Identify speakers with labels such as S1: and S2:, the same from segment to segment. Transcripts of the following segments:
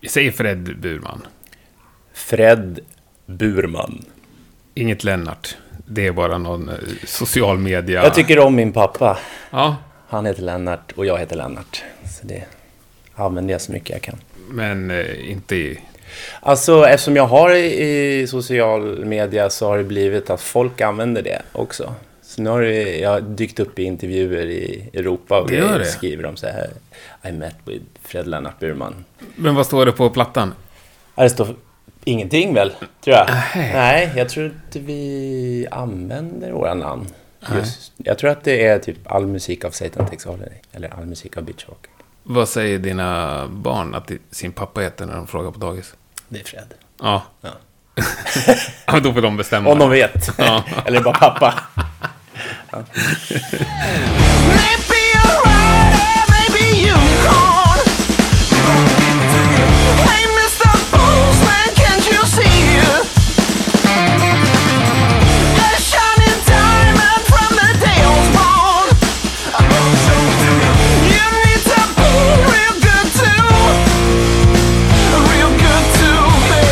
S1: Vi säger Fred Burman.
S2: Fred Burman.
S1: Inget Lennart. Det är bara någon eh, social media...
S2: Jag tycker om min pappa.
S1: Ja,
S2: Han heter Lennart och jag heter Lennart. Så det använder jag så mycket jag kan.
S1: men eh, inte i...
S2: Alltså eftersom jag har i i social media så har det blivit att folk använder det också. Så nu har det, jag har dykt upp i intervjuer i Europa och
S1: Det gör
S2: grejer,
S1: det.
S2: skriver de så här. I met with Fred Lennart Burman.
S1: Men vad står det på plattan?
S2: Ja, Det står ingenting väl, tror jag.
S1: Nej.
S2: Nej, jag tror inte vi använder våra namn. Just, jag tror att det är typ all musik av Satan Takes Holiday. Eller all musik av Beach Walker.
S1: Vad säger dina barn att di- sin pappa heter när de frågar på dagis?
S2: Det är Fred.
S1: Ja.
S2: Ja.
S1: ja då får de bestämma.
S2: Om de vet.
S1: Ja.
S2: Eller bara pappa.
S3: Maybe a rider, maybe unicorn. Hey, Mr. Postman, can't you see? A shining diamond from the day I was born. You need to be real good too, real good to me.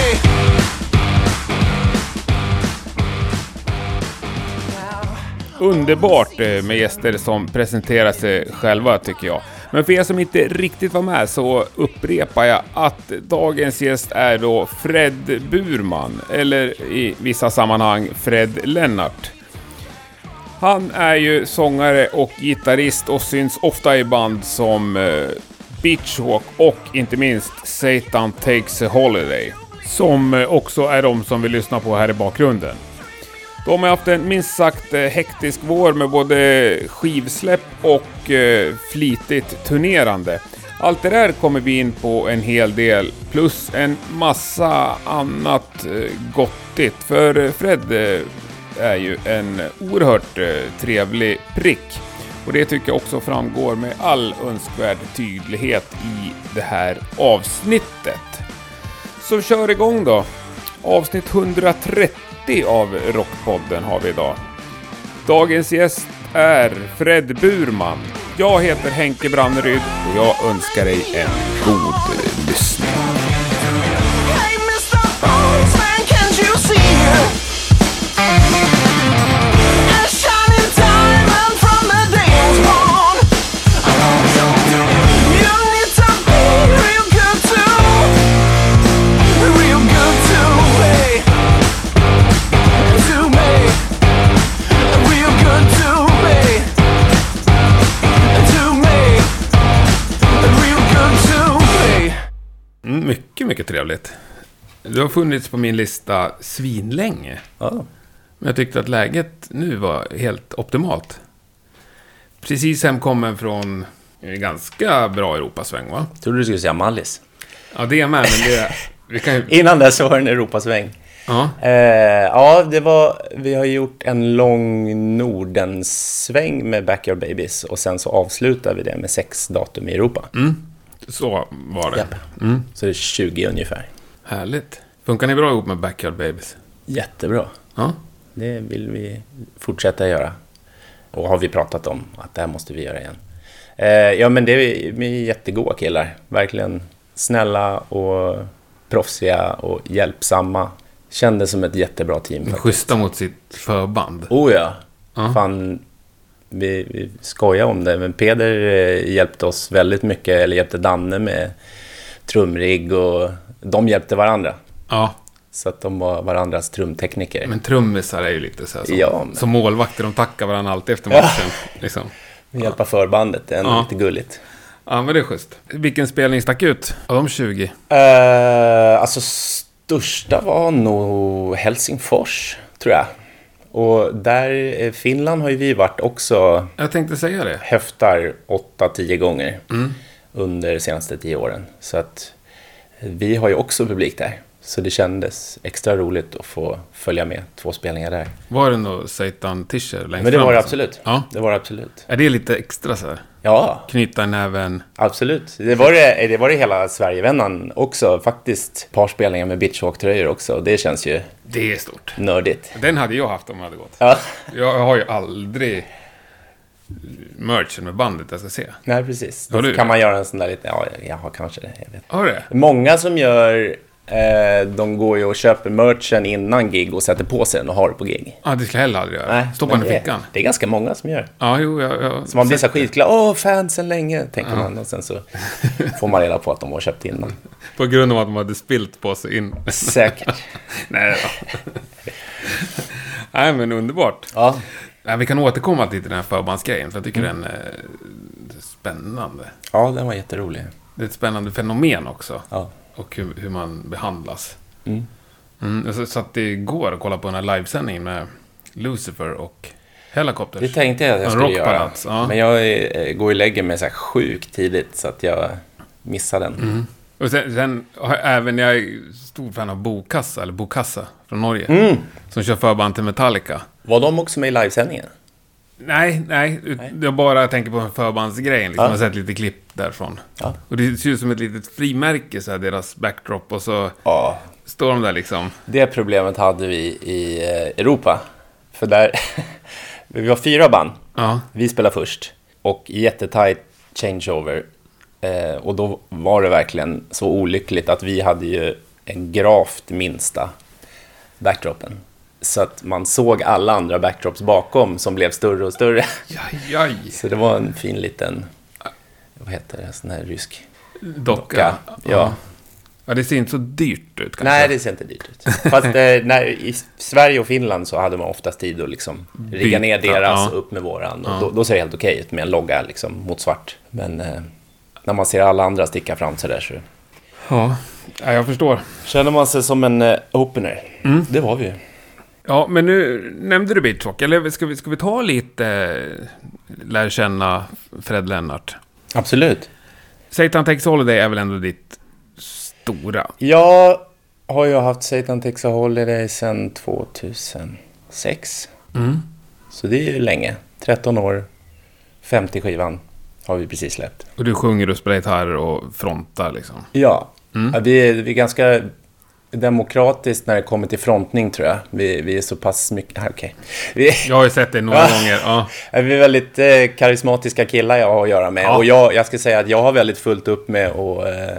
S1: Underbart eh, med gäster som presenterar sig själva tycker jag. Men för er som inte riktigt var med så upprepar jag att dagens gäst är då Fred Burman, eller i vissa sammanhang Fred Lennart. Han är ju sångare och gitarrist och syns ofta i band som eh, Beachwalk och inte minst Satan Takes a Holiday, som eh, också är de som vi lyssnar på här i bakgrunden. De har haft en minst sagt eh, hektisk vår med både skivsläpp och eh, flitigt turnerande. Allt det där kommer vi in på en hel del, plus en massa annat eh, gottigt. För eh, Fred eh, är ju en oerhört eh, trevlig prick. Och det tycker jag också framgår med all önskvärd tydlighet i det här avsnittet. Så vi kör igång då. Avsnitt 130 av Rockpodden har vi idag. Dagens gäst är Fred Burman. Jag heter Henke Branneryd och jag önskar dig en god eh, lyssning.
S3: Hey, Mr. Postman, can't you see? A shining diamond from the day I was born. You need to be real good too, real good to me, to me, real good to me, to me, real good to me.
S1: Mm, Mycket, mycket trevligt. Du har funnits på min lista svinlänge.
S2: Ja.
S1: Men jag tyckte att läget nu var helt optimalt. Precis hemkommen från en ganska bra Europasväng va?
S2: Trodde du skulle säga Mallis.
S1: Ja, det är med, men det... Vi kan ju...
S2: Innan dess så var det en Europasväng.
S1: Ja.
S2: Eh, ja, det var... Vi har gjort en lång Nordensväng med Backyard Babies och sen så avslutar vi det med sex datum i Europa.
S1: Så var det.
S2: Japp. Så det är 20 ungefär.
S1: Härligt. Funkar ni bra ihop med Backyard Babies?
S2: Jättebra.
S1: Ja.
S2: Det vill vi fortsätta göra. Och har vi pratat om att det här måste vi göra igen. Eh, ja, men det är, vi är jättegoda killar. Verkligen snälla och proffsiga och hjälpsamma. Kändes som ett jättebra team. faktiskt.
S1: Schyssta mot sitt förband.
S2: Oh ja.
S1: Mm. Ja.
S2: Fan, vi, vi skojar om det, men Peder eh, hjälpte oss väldigt mycket, eller hjälpte Danne med trumrigg och de hjälpte varandra.
S1: Ja,
S2: Så att de var varandras trumtekniker.
S1: men trummisar är ju lite så här som,
S2: Ja, men-
S1: som målvakter. De tackar varandra alltid efter matchen. Liksom.
S2: Hjälpa förbandet, det är ändå
S1: Ja.
S2: lite gulligt.
S1: Ja, men det är schysst. Vilken spelning stack ut av de 20?
S2: Eh, alltså största var nog Helsingfors, tror jag. Och där, eh, Finland har ju vi varit också
S1: Jag tänkte säga det.
S2: höftar 8-10 gånger under de senaste 10 åren. Så att eh, vi har ju också publik där. Så det kändes extra roligt att få följa med två spelningar där.
S1: Var det nog Satan Tischer längst
S2: Men det
S1: fram?
S2: var det
S1: alltså?
S2: absolut.
S1: Ja.
S2: Det var det absolut.
S1: Är det lite extra så här?
S2: Ja,
S1: Knyta näven.
S2: absolut. Det var det, det var det hela Sverigevännan också. Faktiskt ett par spelningar med beachhawk-tröjor också. Det känns ju
S1: Det är stort.
S2: nördigt.
S1: Den hade jag haft om jag hade gått.
S2: Ja.
S1: Jag har ju aldrig
S4: merchen med bandet jag ska se.
S2: Nej, precis.
S4: Har
S2: Då
S4: du
S2: kan
S4: det?
S2: man göra en sån där liten... Ja, jag har kanske det. Jag vet.
S4: Har du det?
S2: Många som gör... Eh, de går ju och köper merchen innan gig och sätter på sig den och har det på gig.
S4: Ja, det skulle jag heller aldrig göra.
S2: Nej,
S4: Stoppa den
S2: men
S4: i
S2: det-
S4: fickan.
S2: Det är ganska många som gör.
S4: Ja, jo, jag... jag
S2: Så man blir så här skitglad. Åh, fansen länge, tänker man. Och sen så får man reda på att de har köpt in den.
S4: På grund av att de hade spilt på sig in.
S2: Säkert.
S4: Nej, då. Nej, men underbart.
S2: Ja,
S4: Ja, vi kan återkomma till den här förbandsgrejen, för jag tycker den eh, är spännande.
S2: ja den var jätterolig.
S4: Det är ett spännande fenomen också.
S2: Ja.
S4: Och hur, hur man behandlas. Mm, jag satt igår och kollade på den här livesändningen med Lucifer och Hellacopters.
S2: Det tänkte jag att jag
S4: En
S2: skulle göra.
S4: rockpalats, ja.
S2: Men jag eh, går och lägger mig så här sjukt tidigt så att jag missar den.
S4: Och sen, sen har jag, även jag är stor fan av Bokassa, eller Bokassa från Norge. Som kör förband till Metallica.
S2: Var de också med i livesändningen?
S4: Nej, nej. ut- Jag bara tänker på förbandsgrejen. Liksom.
S2: Ja.
S4: Jag har sett lite klipp därifrån.
S2: Ja.
S4: Och det ser ut som ett litet frimärke, så här, deras backdrop. Och så
S2: Ja.
S4: står de där liksom.
S2: Det problemet hade vi i eh, Europa. För där, vi var fyra band.
S4: Ja.
S2: Vi spelade först. Och jättetajt changeover. Eh, och då var det verkligen så olyckligt att vi hade ju en gravt minsta backdropen. Så att man såg alla andra backdrops bakom som blev större och större.
S4: Jaj, jaj.
S2: Så det var en fin liten, vad heter det, sån här rysk
S4: Docka.
S2: docka. Ja.
S4: ja. Det ser inte så dyrt ut kanske.
S2: Nej, det ser inte dyrt ut. Fast eh, när, i Sverige och Finland så hade man oftast tid att liksom rigga ner
S4: Byta,
S2: deras
S4: ja.
S2: och upp med våran. Och då, då ser det helt okej ut med en logga liksom, mot svart. Men eh, när man ser alla andra sticka fram så där så
S4: Ja. ja, jag förstår.
S2: känner man sig som en eh, opener. Det var vi ju.
S4: Ja, men nu nämnde du Bitchock. Eller ska vi, ska vi ta lite eh, lär känna Fred Lennart?
S2: Absolut.
S4: Satan Takes Holiday är väl ändå ditt stora?
S2: Jag har ju haft Satan Texas Holiday sedan 2006.
S4: Mm.
S2: Så det är ju länge. 13 år, 50 skivan har vi precis släppt.
S4: Och du sjunger och spelar gitarr och frontar liksom?
S2: Ja, ja vi, är, vi är ganska demokratiskt när det kommer till frontning tror jag. Vi, vi är så pass mycket... Ah, okej. Vi,
S4: Jag har ju sett dig några gånger. Ja.
S2: vi är väldigt eh, karismatiska killar jag har att göra med.
S4: Ja.
S2: Och jag, jag ska säga att jag har väldigt fullt upp med att eh,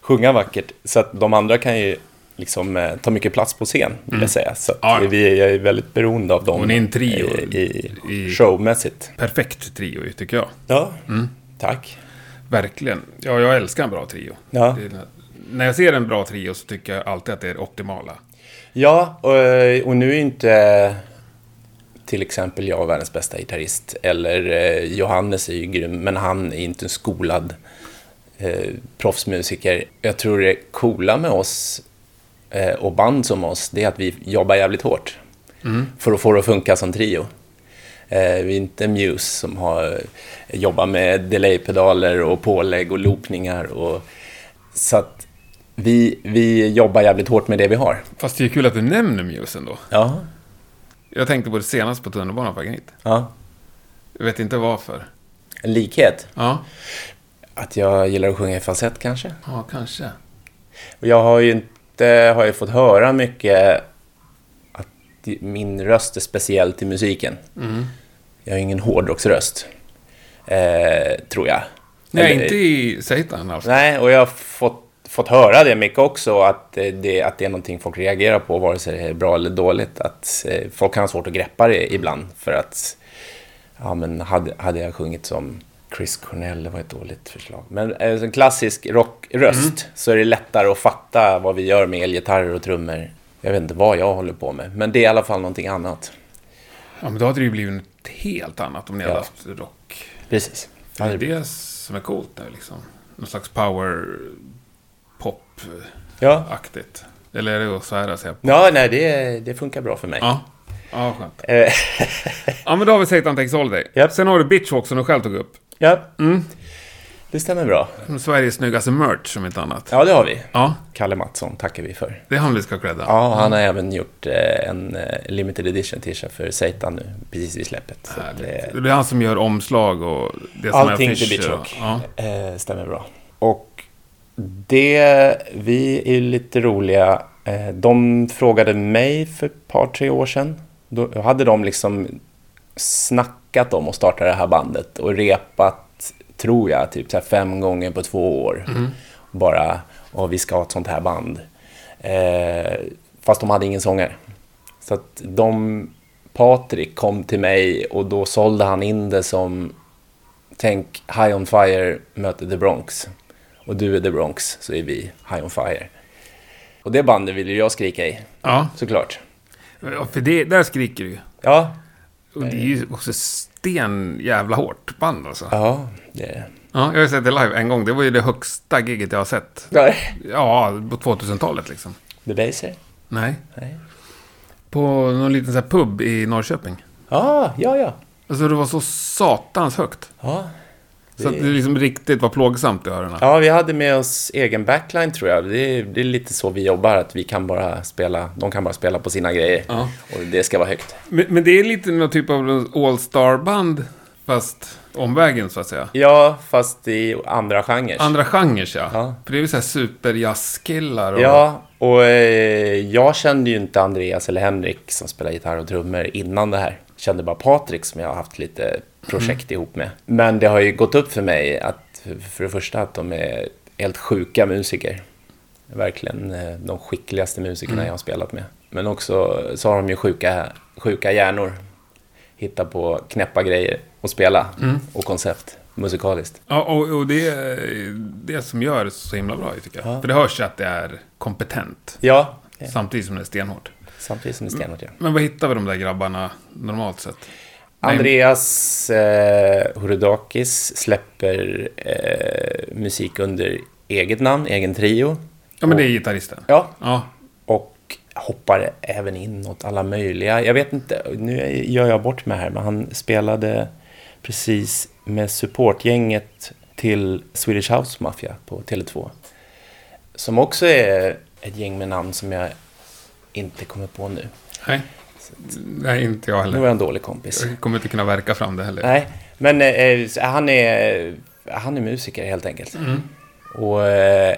S2: sjunga vackert. Så att de andra kan ju liksom eh, ta mycket plats på scen, vill jag säga. Så att
S4: Mm. Ja.
S2: vi är väldigt beroende av dem.
S4: Och ni är en trio
S2: I, i,
S4: i- Mm.
S2: Showmässigt.
S4: Perfekt trio ju, tycker jag.
S2: Ja, tack.
S4: Verkligen. Ja, jag älskar en bra trio.
S2: Ja.
S4: Det är- När jag ser en bra trio så tycker jag alltid att det är det optimala.
S2: Ja, och, och nu är inte eh, till exempel jag världens bästa gitarrist. Eller eh, Johannes är ju grym, men han är inte en skolad eh, proffsmusiker. Jag tror det coola med oss eh, och band som oss, det är att vi jobbar jävligt hårt för att få det att funka som trio. Eh, vi är inte Muse som har jobbat med delaypedaler och pålägg och loopningar. Och, så att vi, vi jobbar jävligt hårt med det vi har.
S4: Fast det är kul att du nämner Muse ändå.
S2: Ja.
S4: Jag tänkte på det senast på tunnelbanan på vägen hit.
S2: ja.
S4: Jag vet inte varför.
S2: En likhet?
S4: Ja,
S2: Att jag gillar att sjunga i falsett kanske.
S4: ja kanske.
S2: Och jag har ju inte har ju fått höra mycket att min röst är speciell till musiken. Jag har ingen hårdrocksröst, eh, tror jag.
S4: Nej,
S2: Eller-
S4: inte i Satan alltså.
S2: Nej, och jag har fått, fått höra det mycket också, att eh, det, att det är någonting folk reagerar på, vare sig det är bra eller dåligt. Att eh, folk kan ha svårt att greppa det ibland, för att ja, men hade, hade jag sjungit som Chris Cornell, det var ett dåligt förslag. Men eh, en klassisk rockröst
S4: Mm.
S2: så är det lättare att fatta vad vi gör med elgitarrer och trummor. Jag vet inte vad jag håller på med, men det är i alla fall någonting annat.
S4: Ja, men då hade det ju blivit något helt annat om ni hade
S2: Ja.
S4: haft rock.
S2: Precis.
S4: Det är det som är coolt nu liksom. Någon slags power pop-aktigt.
S2: Ja,
S4: Eller är det så här att säga?
S2: ja nej, det, det funkar bra för mig.
S4: Ja. Ja, skönt.
S2: Eh,
S4: Ja, men då har vi Satan Takes Holiday.
S2: Japp.
S4: Sen har du Bitchwalk som du själv tog upp.
S2: ja.
S4: Mm.
S2: Det stämmer bra.
S4: Sveriges snyggaste merch, som inte annat.
S2: Ja, det har vi.
S4: Ja,
S2: Kalle Mattsson tackar vi för.
S4: det är han vi ska credda.
S2: Ja, han har även gjort eh, en eh, limited edition t-shirt för Satan nu, precis vid släppet. Så att,
S4: Härligt.
S2: eh,
S4: Det är han som gör omslag och det som
S2: allting
S4: är
S2: till
S4: affischer och-
S2: Bitchrock
S4: Ja.
S2: eh, stämmer bra. Och det, vi är ju lite roliga. Eh, de frågade mig för ett par, tre år sedan. Då hade de liksom snackat snackat om att starta det här bandet och repat, tror jag, typ så här fem gånger på två år.
S4: Mm-hmm.
S2: Bara, åh, vi ska ha ett sånt här band. Eh, fast de hade ingen sångare. Så att de, Patrik kom till mig och då sålde han in det som, tänk High On Fire möter The Bronx. Och du är The Bronx, så är vi High On Fire. Och det bandet ville ju jag skrika i,
S4: Ja,
S2: såklart.
S4: Ja, för det, där skriker du ju.
S2: Ja,
S4: Och det är ju också sten jävla hårt band alltså.
S2: ja, det...
S4: Ja, jag har ju sett det live en gång. Det var ju det högsta giget jag har sett.
S2: Nej.
S4: Ja, på 2000-talet liksom.
S2: The Baser?
S4: Nej.
S2: Nej.
S4: På någon liten så här pub i Norrköping.
S2: Ja, ja, ja.
S4: Alltså det var så satans högt.
S2: Ja.
S4: Så att det liksom riktigt var plågsamt i öronen.
S2: Ja, vi hade med oss egen backline tror jag. Det är, det är lite så vi jobbar, att vi kan bara spela, de kan bara spela på sina grejer.
S4: Ja.
S2: Och det ska vara högt.
S4: Men, men det är lite någon typ av all-star-band, fast omvägen så att säga.
S2: Ja, fast i andra genrer.
S4: Andra genrer ja.
S2: Ja.
S4: För det är ju så här superjazzkillar och...
S2: Ja, och eh, jag kände ju inte Andreas eller Henrik som spelar gitarr och trummor innan det här. Jag kände bara Patrik som jag har haft lite projekt ihop med. Men det har ju gått upp för mig att för det första att de är helt sjuka musiker. Verkligen eh, de skickligaste musikerna jag har spelat med. Men också så har de ju sjuka, sjuka hjärnor. Hitta på knäppa grejer och spela och koncept musikaliskt.
S4: Ja, och, och det är det som gör det så himla bra tycker jag. För det hörs ju att det är kompetent.
S2: Ja,
S4: Samtidigt som det är stenhårt.
S2: samtidigt som det är stenhårt ja.
S4: Men vad hittar vi de där grabbarna normalt sett?
S2: Andreas eh, Horodakis släpper eh, musik under eget namn, egen trio.
S4: Ja, men det är gitarristen.
S2: Ja.
S4: Ja.
S2: Och hoppar även in åt alla möjliga. Jag vet inte, nu gör jag bort mig här, men han spelade precis med supportgänget till Swedish House Mafia på Tele2. Som också är ett gäng med namn som jag inte kommer på nu.
S4: Nej. Nej, inte jag
S2: Nu
S4: heller.
S2: var jag en dålig kompis.
S4: Jag kommer inte kunna verka fram det heller.
S2: Nej, men eh, så han, är, han är musiker helt enkelt. Och eh,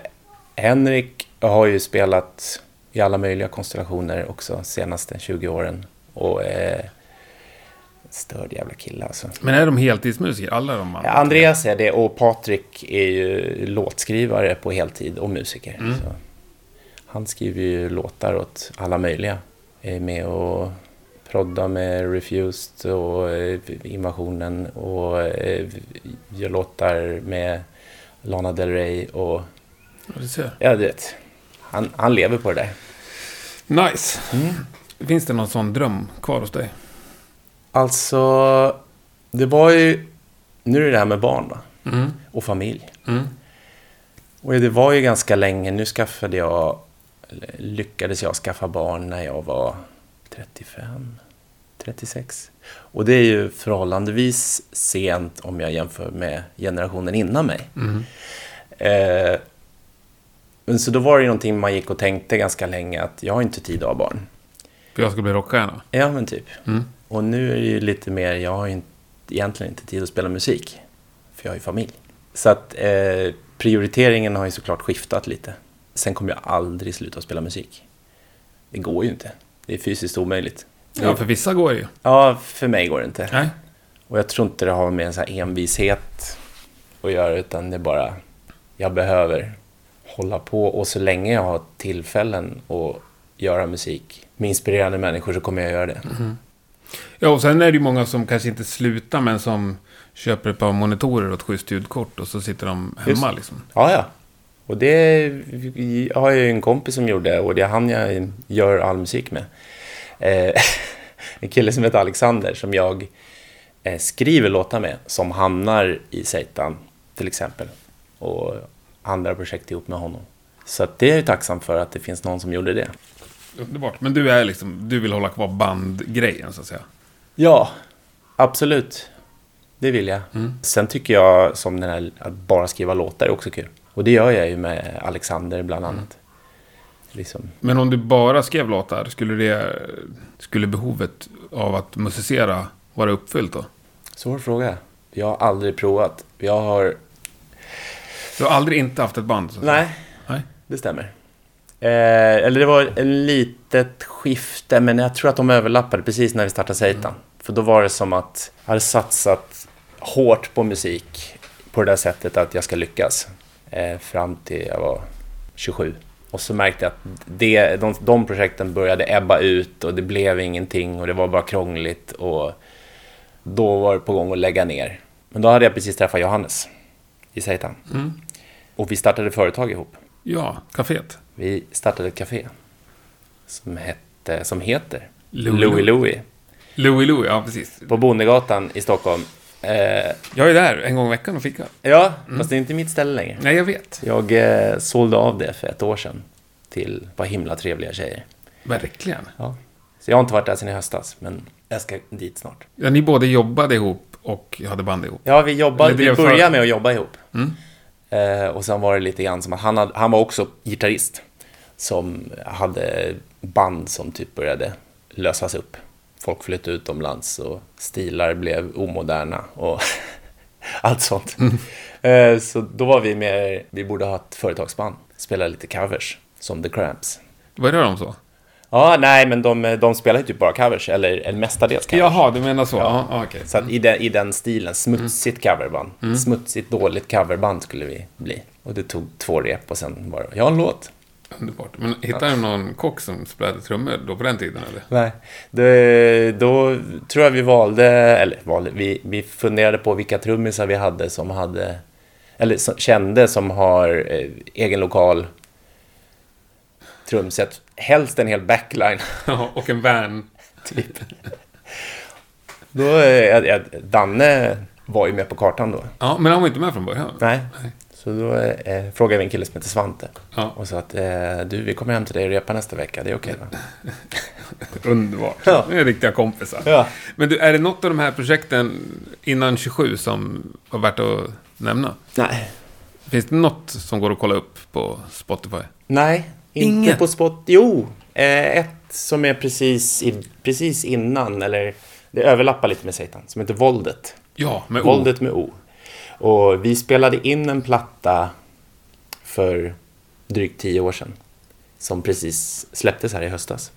S2: Henrik har ju spelat i alla möjliga konstellationer också senaste 20 åren. Och eh, störd jävla kille alltså.
S4: Men är de heltidsmusiker, alla de andra?
S2: Andreas är det och Patrik är ju låtskrivare på heltid och musiker. Så. Han skriver ju låtar åt alla möjliga. Är med och proddar med Refused och eh, Invasionen och eh, gör låtar med Lana Del Rey och...
S4: Ja, du ser.
S2: Ja, du vet. Han, han lever på det där.
S4: Nice. Mm. Finns det någon sån dröm kvar hos dig?
S2: Alltså, det var ju... Nu är det det här med barn va? Och familj. Och det var ju ganska länge. Nu skaffade jag... eller Lyckades jag skaffa barn när jag var 35, 36. Och det är ju förhållandevis sent om jag jämför med generationen innan mig. Eh, men så då var det ju någonting man gick och tänkte ganska länge att jag har inte tid att ha barn.
S4: För jag ska bli rockstjärna.
S2: Ja, men typ. Och nu är det ju lite mer, jag har ju inte, egentligen inte tid att spela musik, för jag har ju familj. Så att eh, prioriteringen har ju såklart skiftat lite. Sen kommer jag aldrig sluta spela musik. Det går ju inte. Det är fysiskt omöjligt.
S4: Ja, för vissa går ju.
S2: Ja, för mig går det inte.
S4: Nej.
S2: Och jag tror inte det har med en så här envishet att göra, utan det är bara, jag behöver hålla på. Och så länge jag har tillfällen att göra musik med inspirerande människor så kommer jag göra det.
S4: Ja, och sen är det ju många som kanske inte slutar, men som köper ett par monitorer och ett schysst ljudkort och så sitter de hemma
S2: Just.
S4: liksom.
S2: Ja, ja. Och det har jag ju en kompis som gjorde och det är han jag gör all musik med. Eh, en kille som heter Alexander som jag eh, skriver låtar med som hamnar i Satan till exempel och andra projekt ihop med honom. Så att det är jag ju tacksam för att det finns någon som gjorde det.
S4: Underbart. Men du är liksom, du vill hålla kvar bandgrejen så att säga.
S2: Ja, absolut. Det vill jag. Sen tycker jag som den här att bara skriva låtar är också kul. Och det gör jag ju med Alexander bland annat. Liksom.
S4: Men om du bara skrev låtar, skulle, det, skulle behovet av att musicera vara uppfyllt då?
S2: Svår fråga. Jag har aldrig provat. Jag har...
S4: Du har aldrig inte haft ett band? Så att
S2: Nej,
S4: säga. Nej.
S2: det stämmer. Eh, eller det var ett litet skifte, men jag tror att de överlappade precis när vi startade Seitan. För då var det som att jag hade satsat hårt på musik på det där sättet att jag ska lyckas. Eh, fram till jag var 27. Och så märkte jag att det, de, de projekten började ebba ut och det blev ingenting och det var bara krångligt och då var det på gång att lägga ner. Men då hade jag precis träffat Johannes i Seitan. Och vi startade företag ihop.
S4: Ja, kaféet.
S2: Vi startade ett café som, hette, som heter
S4: Louie
S2: Louie Louie
S4: Louie Louie, ja precis.
S2: på Bondegatan i Stockholm. Eh,
S4: Jag är där en gång i veckan och fikar.
S2: ja, fast det är inte mitt ställe längre.
S4: Nej, jag vet.
S2: Jag eh, sålde av det för ett år sedan till vad himla trevliga tjejer.
S4: Verkligen.
S2: Ja. Så jag har inte varit där sedan i höstas, men jag ska dit snart.
S4: Ja, ni både jobbade ihop och hade band ihop.
S2: Ja, vi, jobbade,
S4: Eller
S2: vi
S4: drev för- Mm.
S2: började med att jobba ihop. Eh, och sen var det lite grann som att han, hade, han var också gitarrist. Som hade band som typ började lösas upp. Folk flyttade utomlands och stilar blev omoderna och allt sånt.
S4: Mm.
S2: Eh, så då var vi mer, vi borde ha ett företagsband. Spela lite covers, som The Cramps.
S4: Vad rör de så?
S2: Ja, nej, men de, de spelar ju typ bara covers, eller, eller mestadels covers.
S4: Jaha, du menar så? Ja, ja okej.
S2: Så att i, den, i den stilen, smutsigt coverband. Smutsigt dåligt coverband skulle vi bli. Och det tog två rep och sen var det, jag har en låt.
S4: Underbart. Men hittade du någon kock som spelade trummor då på den tiden eller?
S2: Nej. Det, då tror jag vi valde, eller valde, vi, vi funderade på vilka trummisar vi hade som hade, eller som, kände som har eh, egen lokal trumset. Helst en hel backline.
S4: Ja, och en van.
S2: typ. Då, eh, eh, Danne var ju med på kartan då.
S4: Ja, men han var inte med från början.
S2: Nej. Så då eh, frågade vi en kille som heter Svante.
S4: Ja.
S2: Och sa att eh, du, vi kommer hem till dig och repar nästa vecka. Det är okej va?
S4: Underbart.
S2: Ja.
S4: Det är riktiga kompisar.
S2: Ja.
S4: Men du, är det något av de här projekten innan 27 som var värt att nämna?
S2: Nej.
S4: Finns det något som går att kolla upp på Spotify?
S2: Nej, inte
S4: Inget.
S2: på spot. Jo, eh, ett som är precis, i, precis innan, eller det överlappar lite med Satan, som heter Våldet.
S4: Ja, med O.
S2: Våldet med O. Och vi spelade in en platta för drygt tio år sedan. Som precis släpptes här i höstas.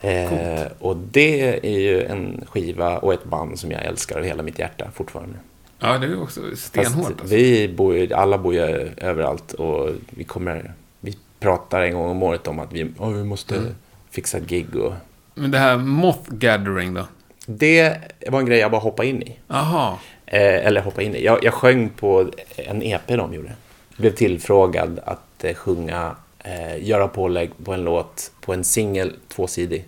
S2: Eh, och det är ju en skiva och ett band som jag älskar av hela mitt hjärta fortfarande.
S4: Ja, det är ju också
S2: Fast
S4: stenhårt. Alltså.
S2: vi bor ju, alla bor ju överallt och vi kommer, vi pratar en gång om året om att vi, "Åh, vi måste
S4: Mm.
S2: fixa ett gig och
S4: Men det här Moth Gathering då?
S2: det var en grej jag bara hoppade in i.
S4: Aha.
S2: Eh, eller hoppa in i. Jag, jag sjöng på en EP de gjorde. Blev tillfrågad att eh, sjunga, eh, göra pålägg på en låt, på en singel, tvåsidig.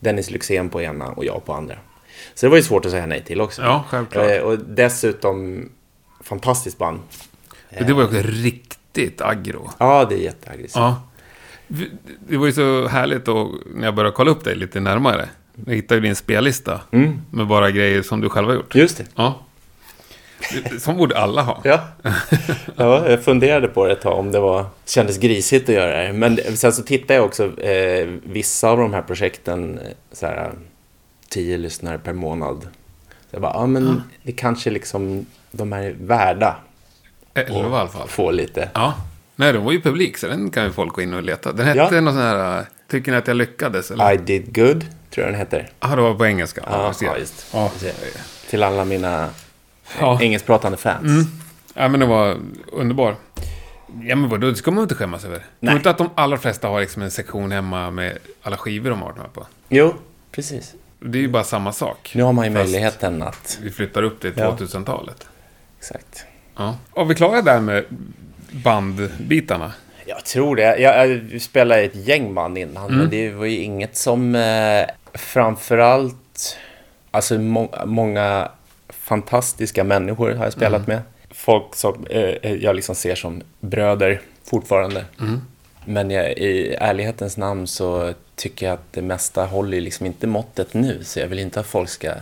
S2: Dennis Lyxzén på ena och jag på andra. Så det var ju svårt att säga nej till också.
S4: Ja, självklart.
S2: Eh, och dessutom, fantastiskt band.
S4: Det var ju också riktigt aggro.
S2: Ja, det är jätteaggressivt.
S4: Eh. Ja. Vi- Det var ju så härligt då, när jag började kolla upp dig lite närmare. Jag hittade ju din spellista med bara grejer som du själv har gjort.
S2: Mm. Just det.
S4: Ja. Det- Som borde alla ha.
S2: Ja. ja, jag funderade på det ett tag om det var, kändes grisigt att göra det. Men sen så tittade jag också, eh, vissa av de här projekten, eh, så här, tio lyssnare per månad. Så jag bara, ja
S4: Ah.
S2: men det kanske liksom, de här är värda
S4: Elva i alla fall.
S2: att få lite.
S4: Ja. Nej, den var ju publik, så den kan ju folk gå in och leta. Den hette
S2: Ja.
S4: någon sån här... äh, Tycker ni att jag lyckades? Eller?
S2: I did good, tror jag den heter.
S4: Ja, det var på engelska.
S2: Ja,
S4: jag ser.
S2: ja just.
S4: Ja.
S2: Jag ser. Till alla mina
S4: Ja. Mm.
S2: engelskpratande fans.
S4: Ja, men den var underbar. Ja, men vadå, det ska man inte skämmas över. Tror
S2: Nej.
S4: inte att de allra flesta har liksom en sektion hemma med alla skivor de har varit med på.
S2: Jo, precis.
S4: Det är ju bara samma sak.
S2: Nu har man ju
S4: Fast-
S2: möjligheten att...
S4: Vi flyttar upp det till
S2: Ja.
S4: 2000-talet.
S2: Exakt.
S4: Ja. Och vi klarar där med bandbitarna.
S2: Jag tror det. Jag, jag spelade i ett gäng band innan, men det var ju inget som eh, framförallt... Alltså må, många fantastiska människor har jag spelat med. Folk som eh, jag liksom ser som bröder fortfarande. Men jag, i ärlighetens namn så tycker jag att det mesta håller ju liksom inte måttet nu, så jag vill inte att folk ska...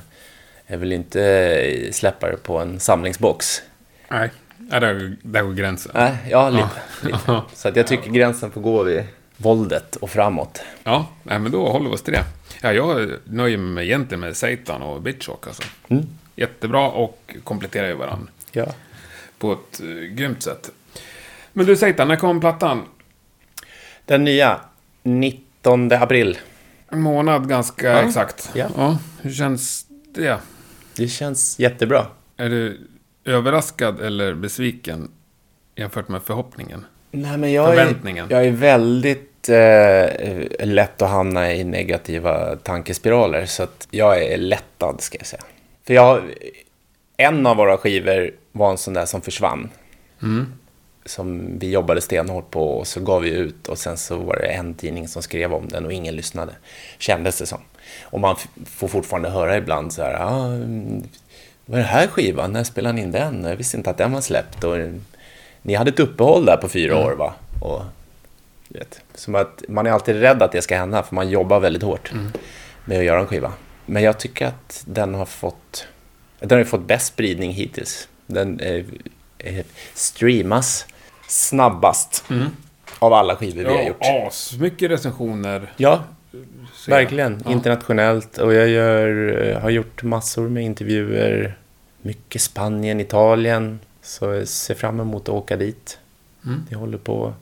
S2: Jag vill inte eh, släppa det på en samlingsbox.
S4: Nej, ja, där, där går gränsen.
S2: Nej, ja, lite. lite.
S4: Ja.
S2: Så att jag tycker gränsen får gå vid våldet och framåt.
S4: Ja, nej, men då håller vi oss till det. Ja, jag nöjer mig egentligen med Satan och Bitchhawk alltså.
S2: Mm.
S4: Jättebra och kompletterar ju varandra
S2: Ja.
S4: på ett uh, grymt sätt. Men du Satan, när kom plattan?
S2: Den nya, 19 april.
S4: En månad ganska exakt.
S2: Ja.
S4: ja. Hur känns det?
S2: Det känns jättebra.
S4: Är du överraskad eller besviken jämfört med förhoppningen?
S2: Nej, men jag
S4: Förväntningen.
S2: Är, jag är väldigt eh, lätt att hamna i negativa tankespiraler, så att jag är lättad, ska jag säga. För jag, en av våra skivor var en sån där som försvann. Som vi jobbade stenhårt på och så gav vi ut och sen så var det en tidning som skrev om den och ingen lyssnade, kändes det som. Och man f- får fortfarande höra ibland så här, ah, mm, vad är det här skivan, när spelade ni in den? Jag visste inte att den var släppt. Och, ni hade ett uppehåll där på fyra år va? Och, du vet, som att man är alltid rädd att det ska hända för man jobbar väldigt hårt med att göra en skiva. Men jag tycker att den har fått, den har ju fått bäst spridning hittills. Den eh, eh, streamas snabbast av alla skivor vi har gjort.
S4: Ja, asmycket recensioner.
S2: Ja,
S4: ser jag.
S2: Verkligen, internationellt. Och jag gör, eh, har gjort massor med intervjuer. Mycket Spanien, Italien. Så jag ser fram emot att åka dit. Jag håller på att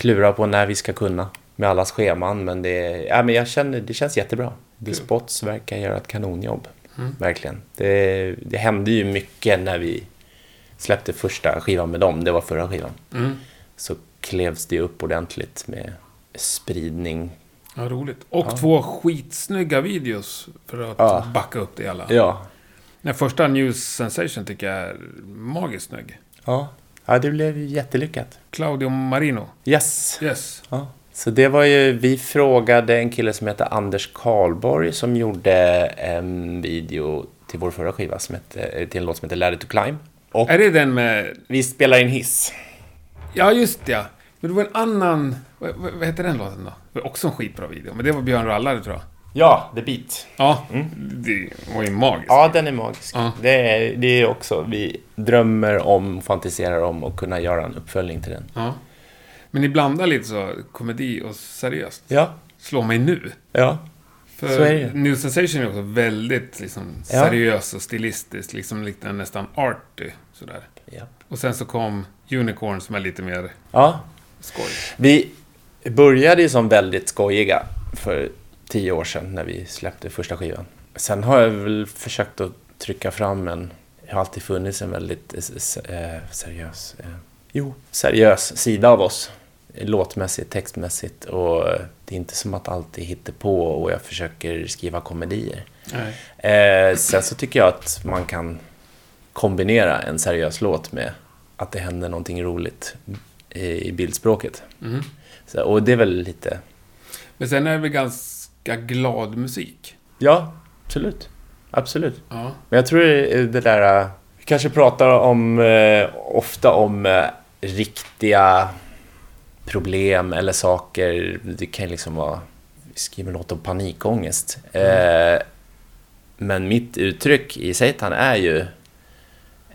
S2: klura på när vi ska kunna. Med allas scheman. Men det, ja, men jag känner, det känns jättebra. The Spots verkar göra ett kanonjobb. Verkligen. Det, det hände ju mycket när vi släppte första skivan med dem. Det var förra skivan. Så klevs det upp ordentligt med spridning
S4: Ja, roligt. Och två skitsnygga videos för att
S2: Ja.
S4: backa upp det hela.
S2: Ja.
S4: Den första News Sensation tycker jag är magiskt snygg.
S2: Ja. Ja, det blev ju jättelyckat.
S4: Claudio Marino.
S2: Yes.
S4: Yes.
S2: Ja. Så det var ju, vi frågade en kille som heter Anders Karlborg som gjorde en video till vår förra skiva som hette, eh, till en låt som heter Lärde to climb. Och
S4: Är det den med...
S2: vi spelar in hiss.
S4: Ja, just det, ja. Men det var en annan... Vad, vad vad heter den låten då? Det var också en skitbra video. Men det var Björn Rallare, tror jag.
S2: Ja, The Beat.
S4: Ja, det var ju magiskt.
S2: Mm. Ja, den är magisk.
S4: Ja.
S2: Det, är, det är också, vi drömmer om, fantiserar om att kunna göra en uppföljning till den.
S4: Ja. Men ni blandar lite så komedi och seriöst.
S2: Ja,
S4: Slå mig nu.
S2: ja. Så är
S4: För
S2: det.
S4: Eh, New Sensation är också väldigt liksom,
S2: Ja.
S4: seriös och stilistisk. Liksom lite nästan arty. Sådär.
S2: Ja.
S4: Och sen så kom Unicorn som är lite mer
S2: ja.
S4: skoj.
S2: Vi började ju som väldigt skojiga för tio år sedan när vi släppte första skivan. Sen har jag väl försökt att trycka fram en... Det har alltid funnits en väldigt eh, s- eh, seriös... Eh, jo, seriös sida av oss. Låtmässigt, textmässigt och eh, det är inte som att allt är hittepå och jag försöker skriva komedier.
S4: Nej.
S2: Eh, sen så tycker jag att man kan kombinera en seriös låt med att det händer någonting roligt i i bildspråket. Så, och det är väl lite...
S4: Men sen är det väl ganska glad musik.
S2: Ja, absolut. Absolut.
S4: Ja.
S2: Men jag tror det är det där... eh, Vi kanske pratar om, eh, ofta om eh, riktiga problem eller saker. Det kan ju liksom vara... Vi skriver en låt om panikångest. Eh, men mitt uttryck i Satan är ju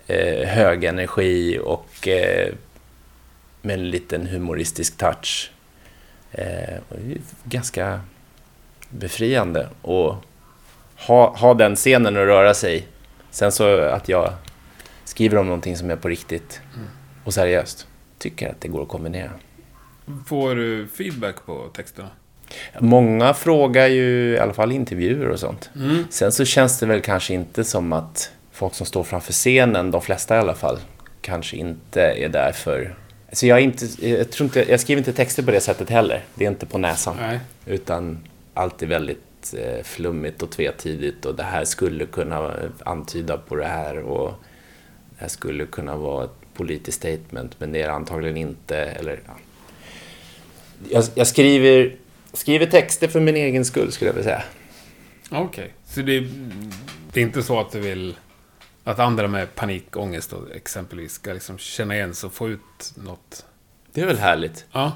S2: eh, hög energi och eh, med en liten humoristisk touch. Eh, och det är ju ganska befriande att ha, ha den scenen att röra sig i. Sen så att jag skriver om någonting som är på riktigt och seriöst. Tycker att det går att kombinera.
S4: Får du feedback på texterna?
S2: Många frågar ju, i alla fall i intervjuer och sånt. Sen så känns det väl kanske inte som att folk som står framför scenen, de flesta i alla fall, kanske inte är där för... Så jag, är inte, jag, tror inte, jag skriver inte texter på det sättet heller. Det är inte på näsan.
S4: Nej.
S2: Utan allt är väldigt eh, flummigt och tvetydigt och det här skulle kunna antyda på det här och det här skulle kunna vara ett politiskt statement men det är det antagligen inte. Eller, ja. jag, jag skriver, skriver texter för min egen skull skulle jag vilja säga.
S4: Okej. Så det, det är inte så att du vill att andra med panikångest då, exempelvis ska liksom känna igen sig och få ut något?
S2: Det är väl härligt
S4: Ja.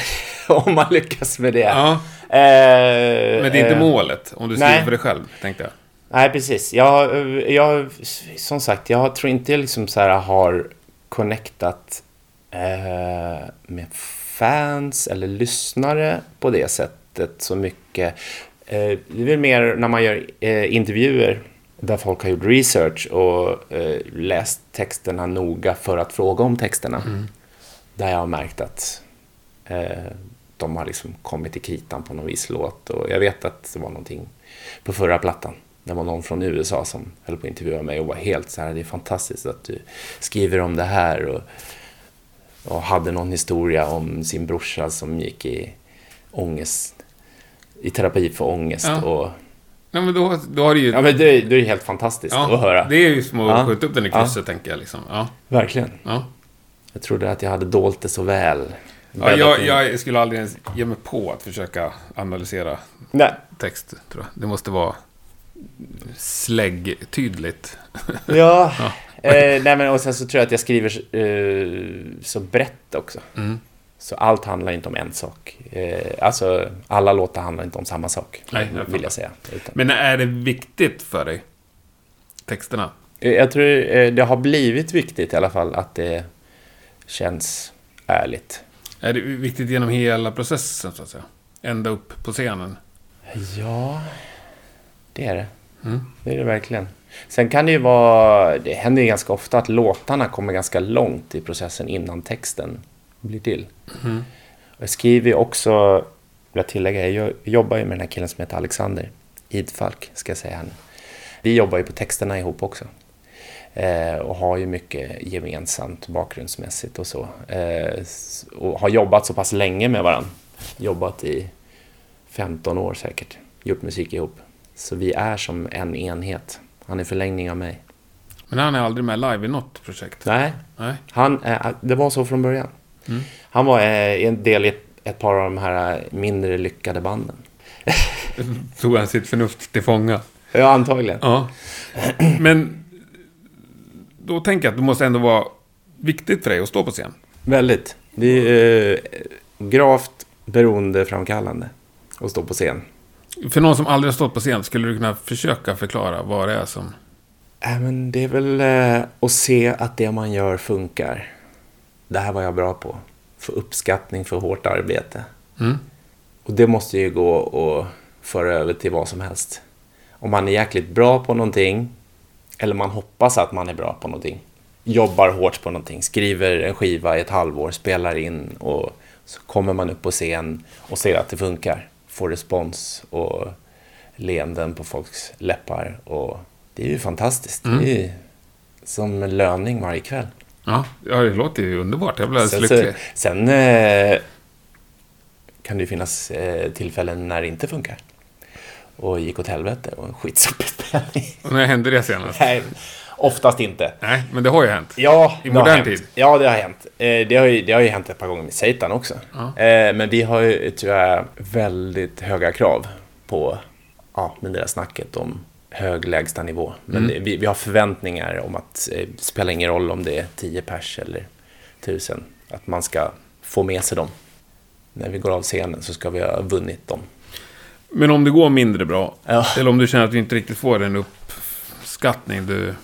S2: om man lyckas med det.
S4: ja.
S2: Eh,
S4: Men det är inte
S2: eh,
S4: målet, om du
S2: nej.
S4: skriver för dig själv, tänkte jag.
S2: Nej, precis. Jag, jag, som sagt, jag tror inte jag liksom så här har connectat eh, med fans eller lyssnare på det sättet så mycket. Eh, det är väl mer när man gör eh, intervjuer där folk har gjort research och eh, läst texterna
S4: Mm.
S2: noga för att fråga om texterna. Där jag har märkt att eh, de har liksom kommit till kritan på någon viss låt. Och jag vet att det var någonting på förra plattan. Det var någon från USA som höll på att intervjua mig och var helt så här, det är fantastiskt att du skriver om det här. Och, och hade någon historia om sin brorsa som gick i ångest, i terapi för ångest.
S4: Ja.
S2: Och,
S4: Nej, men då, då har det ju...
S2: ja, men det, det är helt fantastiskt
S4: Ja,
S2: att höra.
S4: Det är ju som att
S2: Ja.
S4: skjuta upp den i
S2: Ja.
S4: krysset, tänker jag. Liksom. Ja,
S2: Verkligen.
S4: ja.
S2: Jag trodde att jag hade dolt det så väl.
S4: Ja, jag, jag skulle aldrig ens ge mig på att försöka analysera
S2: Nej,
S4: text, tror jag. Det måste vara släggtydligt.
S2: Ja, eh, nej men och sen så tror jag att jag skriver eh, så brett också.
S4: Mm.
S2: Så allt handlar inte om en sak. Eh, alltså, alla låtar handlar inte om samma sak,
S4: Nej, jag
S2: vill
S4: fattar.
S2: jag säga. Utan,
S4: Men är det viktigt för dig? Texterna?
S2: Eh, jag tror eh, det har blivit viktigt i alla fall att det känns ärligt.
S4: Är det viktigt genom hela processen, så att säga? Ända upp på scenen?
S2: Ja, det är det. Det är det verkligen. Sen kan det ju vara, det händer ju ganska ofta att låtarna kommer ganska långt i processen innan texten blir till. Och Jag skriver ju också, vill jag tillägga, jag jo- jobbar ju med den här killen som heter Alexander Idfalk, ska jag säga han. Vi jobbar ju på texterna ihop också. Eh, och har ju mycket gemensamt bakgrundsmässigt och så. Eh, s- och har jobbat så pass länge med varandra. Jobbat i 15 år säkert, gjort musik ihop. Så vi är som en enhet. Han är förlängning av mig.
S4: Men han är aldrig med live i något projekt?
S2: Nej,
S4: Nej.
S2: han, eh, det var så från början. Han var eh, en del i ett, ett par av de här eh, mindre lyckade banden.
S4: Tog han sitt förnuft till fånga?
S2: Ja, antagligen.
S4: Ja. Men då tänker jag att det måste ändå vara viktigt för dig att stå på scen.
S2: Väldigt. Det är eh, gravt beroendeframkallande att stå på scen.
S4: För någon som aldrig har stått på scen, skulle du kunna försöka förklara vad det är som...
S2: Äh, men det är väl eh, att se att det man gör funkar. Det här var jag bra på. Få uppskattning för hårt arbete. Och det måste ju gå att föra över till vad som helst. Om man är jäkligt bra på någonting, eller man hoppas att man är bra på någonting, jobbar hårt på någonting, skriver en skiva i ett halvår, spelar in och så kommer man upp på scen och ser att det funkar. Får respons och leenden på folks läppar. Och det är ju fantastiskt. Det är ju som en löning varje kväll.
S4: Ja, ja det låter ju underbart. Jag blir alldeles
S2: Sen, så,
S4: lycklig.
S2: sen eh, kan det ju finnas eh, tillfällen när det inte funkar. Och gick åt helvete och en skitsopig spelning.
S4: Och när hände det senast?
S2: Nej, oftast inte.
S4: Nej, men det har ju hänt.
S2: Ja,
S4: I
S2: det har
S4: modern
S2: hänt.
S4: tid?
S2: Ja, det har hänt. Eh, det, har ju, det har ju hänt ett par gånger med Satan också. Eh, men vi har ju tyvärr väldigt höga krav på ja, men det där snacket om hög lägstanivå. Men det,
S4: Mm.
S2: vi, vi har förväntningar om att eh, det spelar ingen roll om det är 10 pers eller 1000. Att man ska få med sig dem. När vi går av scenen så ska vi ha vunnit dem.
S4: Men om det går mindre bra,
S2: Ja.
S4: eller om du känner att du inte riktigt får den uppskattning du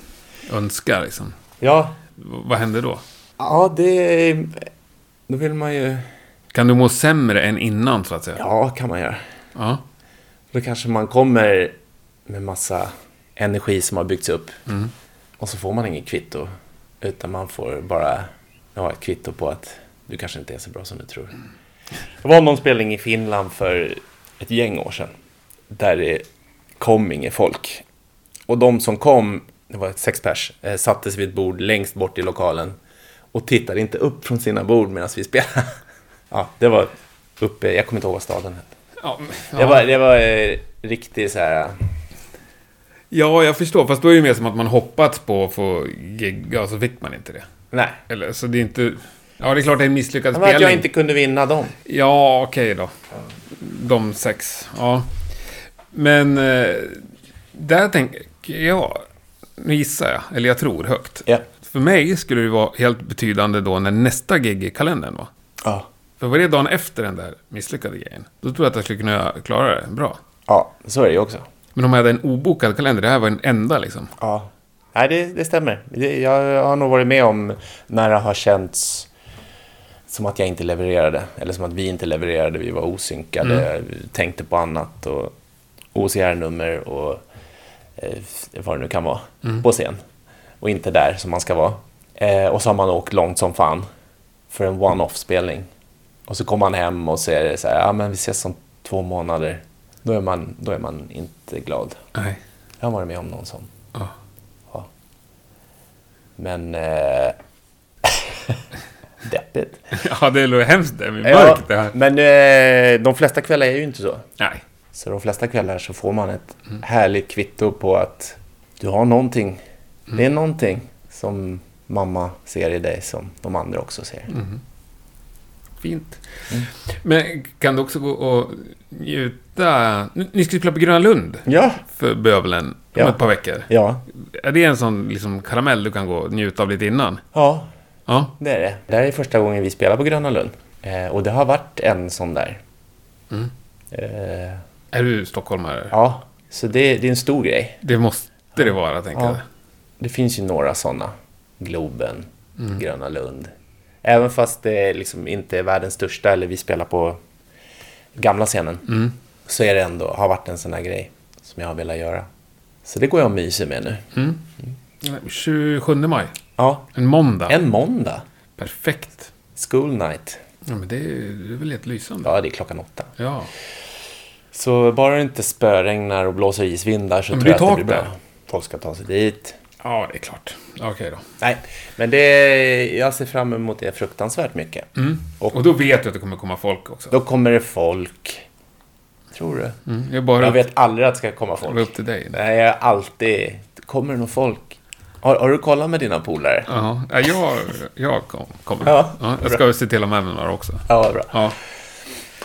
S4: önskar, liksom,
S2: Ja,
S4: v- vad händer då?
S2: ja det... Då vill man ju...
S4: Kan du må sämre än innan, så att säga?
S2: Ja, kan man göra.
S4: Ja.
S2: Då kanske man kommer med massa energi som har byggts upp. Och så får man ingen kvitto. Utan man får bara ja, ett kvitto på att du kanske inte är så bra som du tror. Det var någon spelning i Finland för ett gäng år sedan. Där det kom inget folk. Och de som kom, det var sex pers, eh, satte sig vid ett bord längst bort i lokalen. Och tittade inte upp från sina bord medan vi spelade. ja, det var uppe, jag kommer inte ihåg vad staden hette.
S4: Ja, men-
S2: Det var, det var eh, riktigt så här...
S4: ja, jag förstår. Fast då är det mer som att man hoppats på att få gigga och så fick man inte det.
S2: Nej.
S4: Eller, så det är inte... Ja, det är klart det är en misslyckad
S2: Men att
S4: spelning.
S2: jag inte kunde vinna dem.
S4: Ja, okej då. De sex, ja. Men eh, där tänker jag, nu gissar jag, eller jag tror högt.
S2: Ja.
S4: För mig skulle det vara helt betydande då när nästa gig i kalendern var.
S2: Ja.
S4: För var det dagen efter den där misslyckade grejen, då tror jag att jag skulle kunna klara det bra.
S2: Ja, så är det ju också.
S4: Men om jag hade en obokad kalender, det här var en enda liksom.
S2: Ja. Nej, det, det stämmer. Det, jag har nog varit med om när det har känts som att jag inte levererade. Eller som att vi inte levererade, vi var osynkade, tänkte på annat och OCR-nummer och eh, vad det nu kan vara på scen. Och inte där som man ska vara. Eh, och så har man åkt långt som fan för en one-off-spelning. Och så kommer han hem och så är det så här, ja men vi ses om två månader. Då är man, då är man inte glad.
S4: Nej.
S2: Jag har varit med om någon sån.
S4: Ja.
S2: Ja. Men... Eh, deppigt.
S4: Ja, det låter hemskt det. Men
S2: Ja,
S4: mörkt det här.
S2: men eh, de flesta kvällar är ju inte så.
S4: Nej.
S2: Så de flesta kvällar så får man ett
S4: Mm.
S2: härligt kvitto på att du har någonting. Det
S4: Mm.
S2: är någonting som mamma ser i dig som de andra också ser.
S4: Mm. Fint.
S2: Mm.
S4: Men kan du också gå och njuta... Ni ni ska ju spela på Gröna Lund
S2: Ja,
S4: för bövelen om
S2: Ja.
S4: ett par veckor.
S2: ja,
S4: Är det en sån liksom, karamell du kan gå och njuta av lite innan?
S2: ja,
S4: Ja.
S2: det är det. Det här är första gången vi spelar på Gröna Lund. Eh, och det har varit en sån där.
S4: Mm.
S2: Eh,
S4: Är du stockholmare?
S2: ja, så det, det är en stor grej.
S4: Det måste det vara, tänker
S2: Ja.
S4: jag.
S2: Det finns ju några sådana. Globen, Gröna Lund. Även fast det liksom inte är världens största eller vi spelar på gamla scenen. Så är det ändå, har varit en sån här grej som jag har velat göra. Så det går jag och myser med nu.
S4: 27 maj.
S2: Ja,
S4: En måndag.
S2: en måndag.
S4: Perfekt.
S2: School night.
S4: Ja, men det är, ju- det är väl helt lysande.
S2: Ja, det är klockan åtta.
S4: Ja.
S2: Så bara det inte spöregnar och blåser isvindar så
S4: Men
S2: tror jag
S4: det är
S2: att det
S4: tak
S2: blir
S4: där.
S2: bra. Folk ska ta sig dit.
S4: Ja, det är klart. Okej då.
S2: Nej, men det, jag ser fram emot det fruktansvärt mycket.
S4: Och då vet du att det kommer komma folk också.
S2: Då kommer det folk. Tror du?
S4: Mm, jag bara
S2: Jag vet aldrig att det ska komma
S4: det var upp
S2: folk.
S4: till dig.
S2: Nej, jag är alltid... Kommer det någon folk? Har, har du kollat med dina polare?
S4: Jaha. Ja, jag, jag kom, kommer.
S2: Ja,
S4: jag ska se till att med mig några också.
S2: Ja, vad bra.
S4: Ja.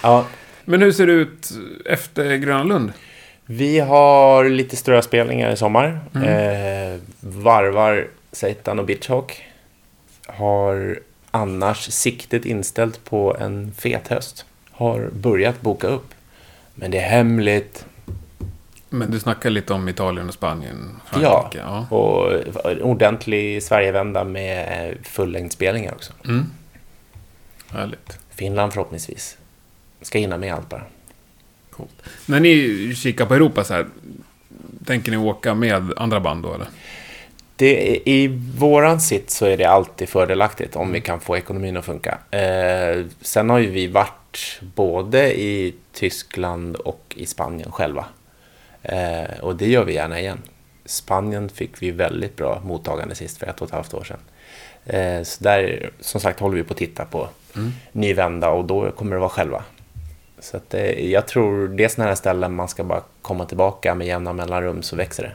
S2: Ja,
S4: Men hur ser det ut efter Gröna Lund?
S2: vi har lite större spelningar i sommar.
S4: Mm.
S2: Eh, varvar Satan och Bitchhawk. Har annars siktet inställt på en fet höst. Har börjat boka upp. Men det är hemligt.
S4: Men du snackar lite om Italien och Spanien.
S2: Ja,
S4: Frankrike. Ja.
S2: och en ordentlig Sverigevända med fullängdsspelningar också.
S4: Härligt.
S2: Finland förhoppningsvis. Ska hinna med allt bara.
S4: Coolt. När ni kikar på Europa så här, tänker ni åka med andra band då eller?
S2: Det, I våran sitt så är det alltid fördelaktigt om vi kan få ekonomin att funka. Eh, sen har ju vi varit både i Tyskland och i Spanien själva. Eh, och det gör vi gärna igen. Spanien fick vi väldigt bra mottagande sist för ett och ett halvt år sedan. Eh, så där, som sagt, håller vi på att titta på ny vända och då kommer det vara själva. Så att, eh, jag tror det är sådana här ställen man ska bara komma tillbaka med jämna mellanrum så växer det.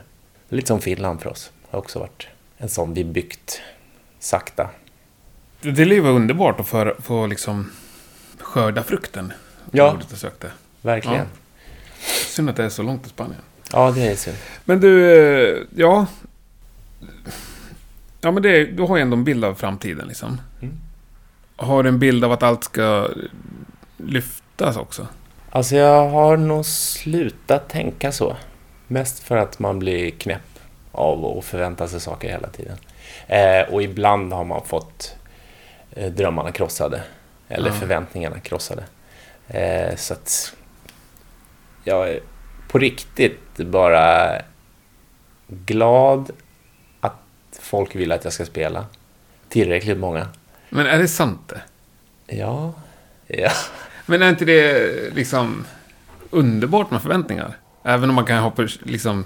S2: Lite som Finland för oss. Det har också varit en sån vi byggt sakta.
S4: Det det är ju underbart att få, få liksom skörda frukten.
S2: Ja.
S4: Ordet jag sökte.
S2: Verkligen.
S4: Synd att det är så långt till Spanien.
S2: Ja, det är synd.
S4: Men du, eh, ja. Ja men det, du har ju ändå en bild av framtiden liksom. Har du en bild av att allt ska lyftas också?
S2: Alltså jag har nog slutat tänka så. Mest för att man blir knäpp av att förvänta sig saker hela tiden. Eh, och ibland har man fått eh, drömmarna krossade. Eller förväntningarna krossade. Eh, så att jag är på riktigt bara glad att folk vill att jag ska spela. Tillräckligt många.
S4: Men är det sant det?
S2: Ja, ja.
S4: Men är inte det liksom underbart med förväntningar? Även om man kan hoppa ur- liksom...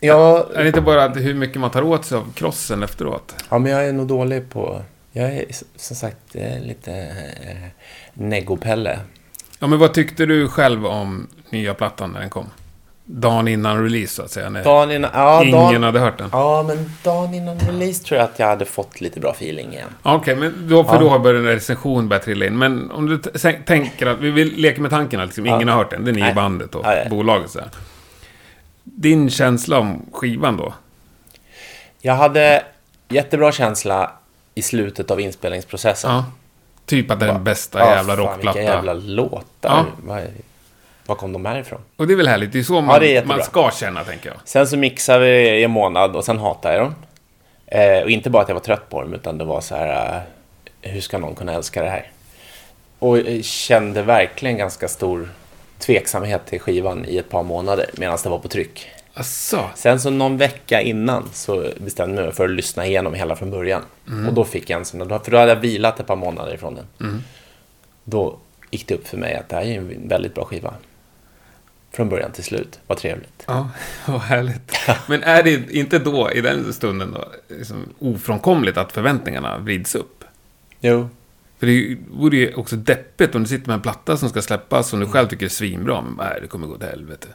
S2: ja
S4: Är det inte bara att hur mycket man tar åt sig av krossen efteråt?
S2: Ja, men jag är nog dålig på... Jag är s- som sagt jag är lite eh, negopelle.
S4: Ja men vad tyckte du själv om nya plattan när den kom? Dagen innan release så att säga. När
S2: Dagen innan... Ja,
S4: ingen
S2: dagen,
S4: hade hört den.
S2: ja, men dagen innan release tror jag att jag hade fått lite bra feeling igen.
S4: Ja, Okej, men då, för då har börjat en recension börja trilla in. Men om du t- sä- tänker att vi vill leka med tanken att liksom, ingen har hört den. Det är ni i
S2: Nej.
S4: bandet och
S2: Ja, ja.
S4: bolaget så här. Din känsla om skivan då?
S2: Jag hade jättebra känsla i slutet av inspelningsprocessen.
S4: Ja. Typ att det är den bästa
S2: Ja,
S4: jävla
S2: fan,
S4: rockplatta.
S2: Vilka jävla låtar.
S4: Ja.
S2: Var, var kom de här ifrån?
S4: Och det är väl härligt. Det är så
S2: Ja,
S4: man,
S2: det är jättebra.
S4: man ska känna, tänker jag.
S2: Sen så mixade vi i en månad och sen hatade jag dem. Eh, och inte bara att jag var trött på dem, utan det var så här, eh, hur ska någon kunna älska det här? Och eh, kände verkligen ganska stor tveksamhet till skivan i ett par månader medan det var på tryck.
S4: Asså.
S2: Sen så någon vecka innan så bestämde jag mig för att lyssna igenom hela från början. Och då fick jag en sån, för då hade jag vilat ett par månader ifrån den. Då gick det upp för mig att det här är ju en väldigt bra skiva. Från början till slut. Vad trevligt.
S4: Ja, vad härligt. Men är det inte då, i den stunden då, liksom ofrånkomligt att förväntningarna vrids upp?
S2: Jo.
S4: För det är ju- vore ju också deppigt om du sitter med en platta som ska släppas som du
S2: Mm.
S4: själv tycker är svinbra, men nej, det kommer gå till helvete.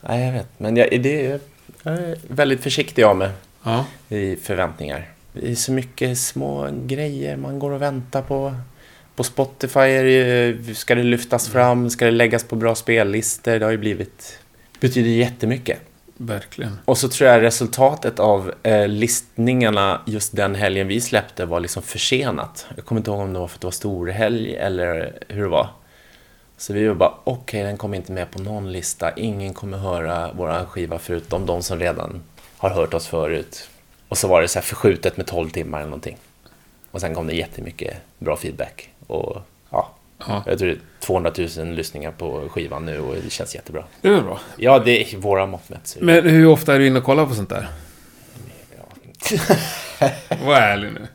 S2: Nej, jag vet. Men jag, det är, jag är väldigt försiktig av mig.
S4: Ja,
S2: i förväntningar. Det är så mycket små grejer man går och väntar på. På Spotify är det, ju- ska det lyftas fram, ska det läggas på bra spellistor. Det har ju blivit... betyder jättemycket.
S4: verkligen.
S2: Och så tror jag resultatet av eh, listningarna just den helgen vi släppte var liksom försenat. Jag kommer inte ihåg om det var för att det var storhelg eller hur det var. Så vi var bara, okej, den kommer inte med på någon lista. Ingen kommer höra våra skiva förutom de som redan har hört oss förut. Och så var det så här förskjutet med 12 timmar eller någonting. Och sen kom det jättemycket bra feedback. Och ja,
S4: Ja.
S2: jag tror det är 200 000 lyssningar på skivan nu och det känns jättebra.
S4: Det är väl bra.
S2: Ja, det är våra mått mätt. så är det
S4: Men hur ofta är du inne och kollar på sånt där?
S2: bra.
S4: Var ärlig nu.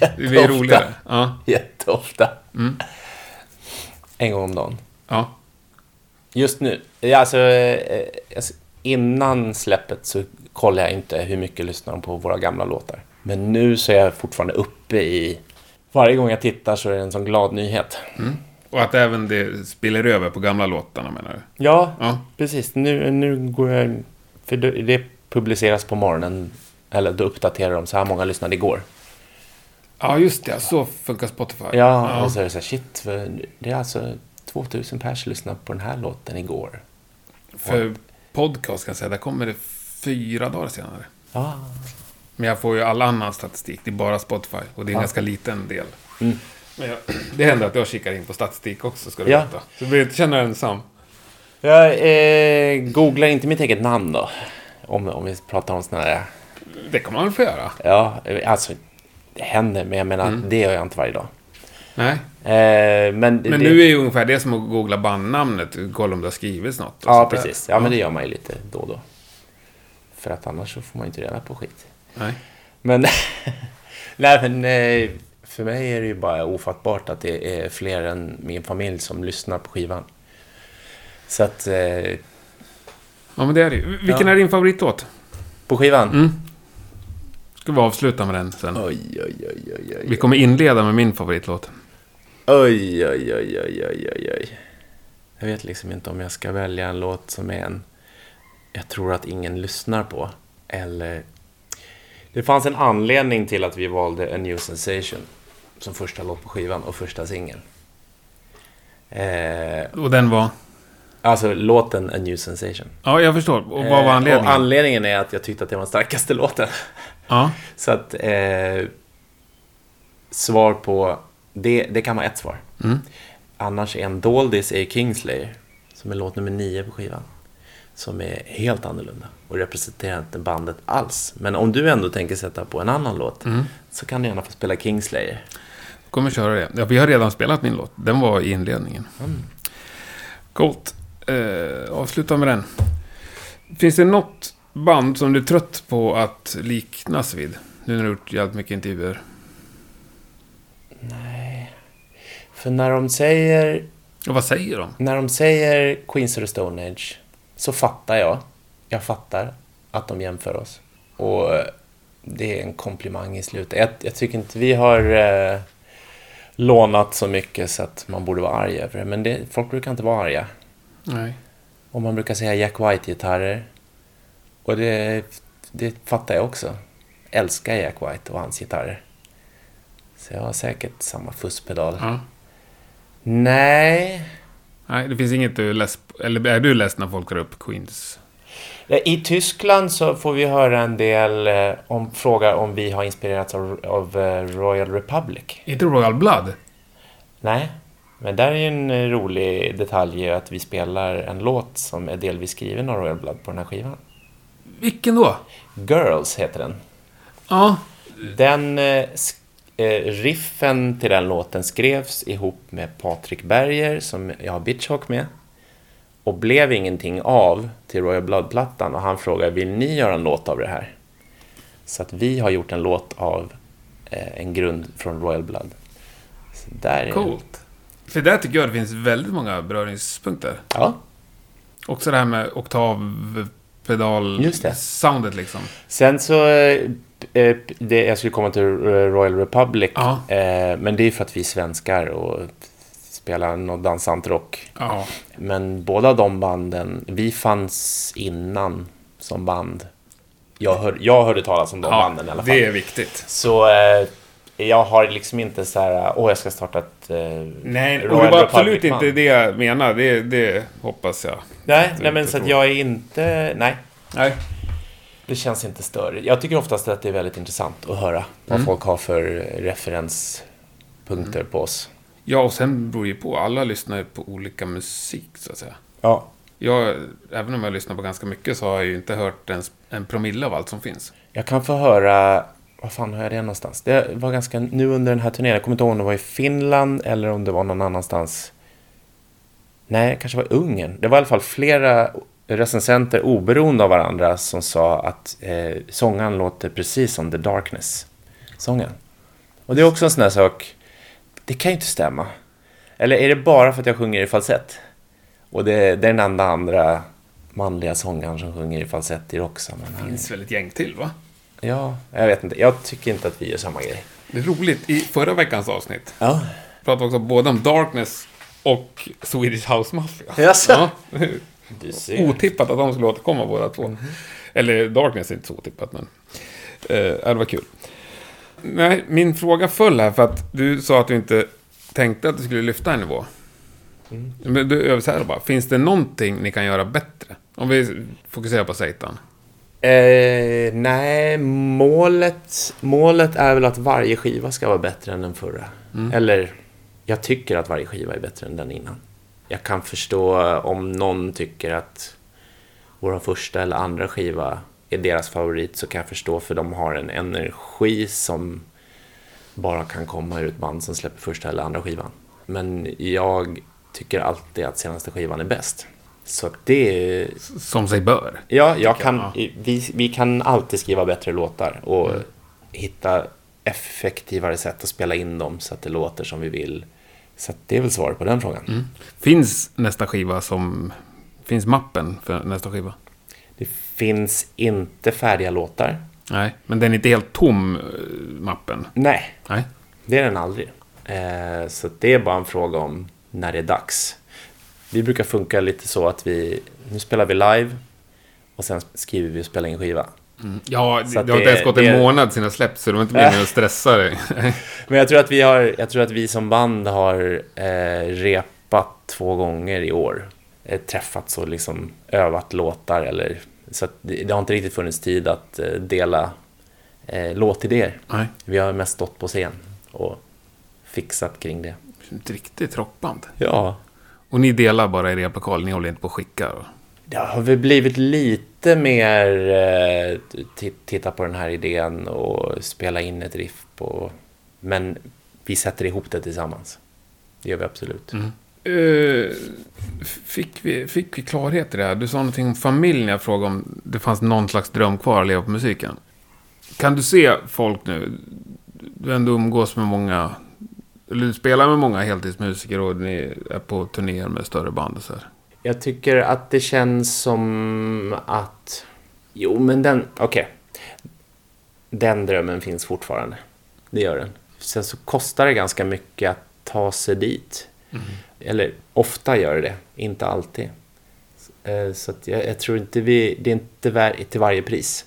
S4: Det blir
S2: Jätteofta.
S4: roligare. Mm. Ja,
S2: Jätteofta. En gång om dagen.
S4: ja.
S2: Just nu, ja, alltså, eh, alltså, innan släppet så kollar jag inte hur mycket lyssnar de på våra gamla låtar. Men nu så är jag fortfarande uppe i... Varje gång jag tittar så är det en sån glad nyhet.
S4: Mm. Och att även det spiller över på gamla låtarna menar du?
S2: Ja,
S4: Ja.
S2: precis. Nu, nu går jag... För det- det publiceras på morgonen, eller då uppdaterar de så här många lyssnade igår.
S4: Ja, just det. Så funkar Spotify.
S2: Ja, och så är det så här, shit, för det är alltså 2000 pers lyssnade på den här låten igår.
S4: För podcast kan jag säga, där kommer det fyra dagar senare.
S2: Ja,
S4: Men jag får ju all annan statistik, det är bara Spotify. Och det är en ganska liten del.
S2: Mm.
S4: Men jag, det händer att jag kikar in på statistik också, ska du
S2: Ja.
S4: veta. Så du behöver inte känna dig ensam.
S2: Jag eh, googlar inte mitt eget namn då. Om, om vi pratar om sådana där...
S4: Det kommer man väl få göra?
S2: Ja, eh, alltså det händer, men jag menar det gör jag inte varje dag.
S4: Nej.
S2: Eh, men det,
S4: Men nu är ju ungefär det som att googla bandnamnet, kolla om det har skrivits något. och
S2: Ja,
S4: sånt där.
S2: precis. Ja, men det gör man ju lite då och då. För att annars så får man ju inte reda på skit.
S4: Nej.
S2: Men... Nej, men eh, för mig är det ju bara ofattbart att det är fler än min familj som lyssnar på skivan. Så att... Eh,
S4: Ja, men det är det ju. Vilken
S2: Ja.
S4: är din favoritlåt?
S2: på skivan...
S4: Ska vi avsluta med den sen?
S2: Oj, oj, oj, oj, oj.
S4: Vi kommer inleda med min favoritlåt.
S2: Oj, oj, oj, oj, oj, oj, oj. Jag vet liksom inte om jag ska välja en låt som är en jag tror att ingen lyssnar på. Eller... Det fanns en anledning till att vi valde A New Sensation som första låt på skivan och första singel. Eh,
S4: Och den var?
S2: alltså låten A New Sensation.
S4: Ja, jag förstår. Och vad var
S2: Eh,
S4: anledningen?
S2: Och anledningen är att jag tyckte att det var den starkaste låten.
S4: Ja,
S2: Så att eh, svar på det, det kan vara ett svar. Annars är en doldis är ju Kingslayer, som är låt nummer nio på skivan. Som är helt annorlunda och representerar inte bandet alls. Men om du ändå tänker sätta på en annan låt så kan du gärna få spela Kingslayer.
S4: kommer köra det. Ja, vi har redan spelat min låt. Den var i inledningen.
S2: Mm.
S4: Coolt. Eh, avsluta med den. Finns det något band som du är trött på att liknas vid? Nu när du har gjort jävligt mycket intervjuer.
S2: För när de säger,
S4: Och vad säger de?
S2: när de säger Queens of the Stone Age så fattar jag. Jag fattar att de jämför oss. Och eh, det är en komplimang i slutet. Jag, jag tycker inte vi har eh, lånat så mycket så att man borde vara arg över det. Men det, folk brukar inte vara arga.
S4: Nej.
S2: Och man brukar säga Jack White-gitarrer. Och det, det fattar jag också. Älskar Jack White och hans gitarrer. Så jag har säkert samma fusspedal.
S4: Ja.
S2: Nej,
S4: Nej, det finns inget du är less Eller är du less när folk drar upp Queens?
S2: Ja, I Tyskland så får vi höra en del eh, om frågar om vi har inspirerats av, av eh, Royal Republic.
S4: Inte Royal Blood?
S2: Nej, men där är ju en eh, rolig detalj ju att vi spelar en låt som är delvis skriven av Royal Blood på den här skivan.
S4: Vilken då?
S2: Girls heter den.
S4: Ja.
S2: Den eh, sk- eh, riffen till den låten skrevs ihop med Patrik Berger som jag har bitchhawk med och blev ingenting av till Royal Blood-plattan och han frågar vill ni göra en låt av det här? Så att vi har gjort en låt av eh, en grund från Royal Blood. Så där är
S4: Coolt. För där tycker jag det finns väldigt många beröringspunkter.
S2: Ja.
S4: Också det här med oktavpedal...
S2: Just det.
S4: Soundet liksom.
S2: Sen så... eh, eh, Det, jag skulle komma till eh, Royal Republic.
S4: Ja.
S2: Eh, Men det är för att vi är svenskar och spelar någon dansant rock.
S4: Ja.
S2: Men båda de banden, vi fanns innan som band. Jag, hör, jag hörde talas om de banden i alla fall.
S4: det är viktigt.
S2: Så eh, jag har liksom inte så här, åh jag ska starta ett... Eh,
S4: Nej, och
S2: Royal
S4: det var
S2: Republic
S4: absolut inte
S2: band."
S4: det jag menar. Det, det hoppas jag.
S2: Nej, nej men
S4: inte
S2: så att
S4: så.
S2: jag är inte, nej.
S4: Nej.
S2: Det känns inte större. Jag tycker oftast att det är väldigt intressant att höra vad folk har för referenspunkter på oss.
S4: Ja, och sen beror det ju på. Alla lyssnar ju på olika musik, så att säga.
S2: Ja.
S4: Jag, även om jag lyssnar på ganska mycket så har jag ju inte hört ens en promille av allt som finns.
S2: Jag kan få höra, vad fan har jag det någonstans? Det var ganska nu under den här turnén, jag kommer inte ihåg om det var i Finland eller om det var någon annanstans. Nej, det kanske var Ungern. Det var i alla fall flera recensenter oberoende av varandra som sa att eh, sången låter precis som The Darkness. Sången. Och det är också en sån här sak, det kan ju inte stämma. Eller är det bara för att jag sjunger i falsett? Och det, det är den enda andra manliga sångaren som sjunger i falsett i rocksammanhang.
S4: Det finns väl ett gäng till, va?
S2: Ja, jag vet inte. Jag tycker inte att vi gör samma grej.
S4: Det är roligt. I förra veckans avsnitt
S2: Ja.
S4: pratade vi också både om Darkness och Swedish House Mafia.
S2: Jaså?
S4: Ja.
S2: Du
S4: Oh.
S2: ser.
S4: Otippat att de skulle återkomma båda två. Eller Darkness är inte så otippat, men... Eh, ja, det var kul. Nej, min fråga föll här för att du sa att du inte tänkte att du skulle lyfta en nivå. Men du översätter bara. Finns det någonting ni kan göra bättre? Om vi fokuserar på Satan.
S2: Eh, nej, målet, målet är väl att varje skiva ska vara bättre än den förra. Eller, jag tycker att varje skiva är bättre än den innan. Jag kan förstå om någon tycker att vår första eller andra skiva är deras favorit, så kan jag förstå för de har en energi som bara kan komma ur ett band som släpper första eller andra skivan. Men jag tycker alltid att senaste skivan är bäst. Så det är
S4: Som sig bör.
S2: Ja, jag kan, Vi, vi kan alltid skriva bättre låtar och hitta effektivare sätt att spela in dem så att det låter som vi vill. Så att det är väl svaret på den frågan.
S4: Finns nästa skiva som... Finns mappen för nästa skiva?
S2: Det finns inte färdiga låtar.
S4: Nej, men den är inte helt tom, eh, mappen.
S2: Nej,
S4: Nej.
S2: det är den aldrig. Eh, så att det är bara en fråga om när det är dags. Vi brukar funka lite så att vi, nu spelar vi live och sen skriver vi och spelar in skiva.
S4: Ja, det,
S2: att
S4: det har inte
S2: det-
S4: ens gått
S2: det-
S4: en månad sedan jag släppt, så du har inte blivit mer stressad.
S2: Men jag tror att vi, har, jag tror att vi som band har eh, repat två gånger i år. Eh, träffats och liksom övat låtar. Eller, så att det, det har inte riktigt funnits tid att eh, dela eh, låtidéer.
S4: Nej.
S2: Vi har mest stått på scen och fixat kring det.
S4: Ett riktigt rockband.
S2: Ja,
S4: Och ni delar bara i replokal, ni håller inte på att skicka? och-
S2: Det har väl blivit lite mer eh, t- titta på den här idén och spela in ett riff på. Men vi sätter ihop det tillsammans. Det gör vi absolut.
S4: Eh, fick, vi, fick vi klarhet i det här? Du sa någonting om familjen. Jag frågade om det fanns någon slags dröm kvar att leva på musiken. Kan du se folk nu? Du ändå umgås med många... Eller du spelar med många heltidsmusiker och ni är på turnéer med större band och så här.
S2: Jag tycker att det känns som att... Jo, men den... Okej. Den drömmen finns fortfarande. Det gör den. Sen så kostar det ganska mycket att ta sig dit. Eller ofta gör det det, inte alltid. Eh, Så att jag, jag tror inte vi... Det är inte var, till varje pris.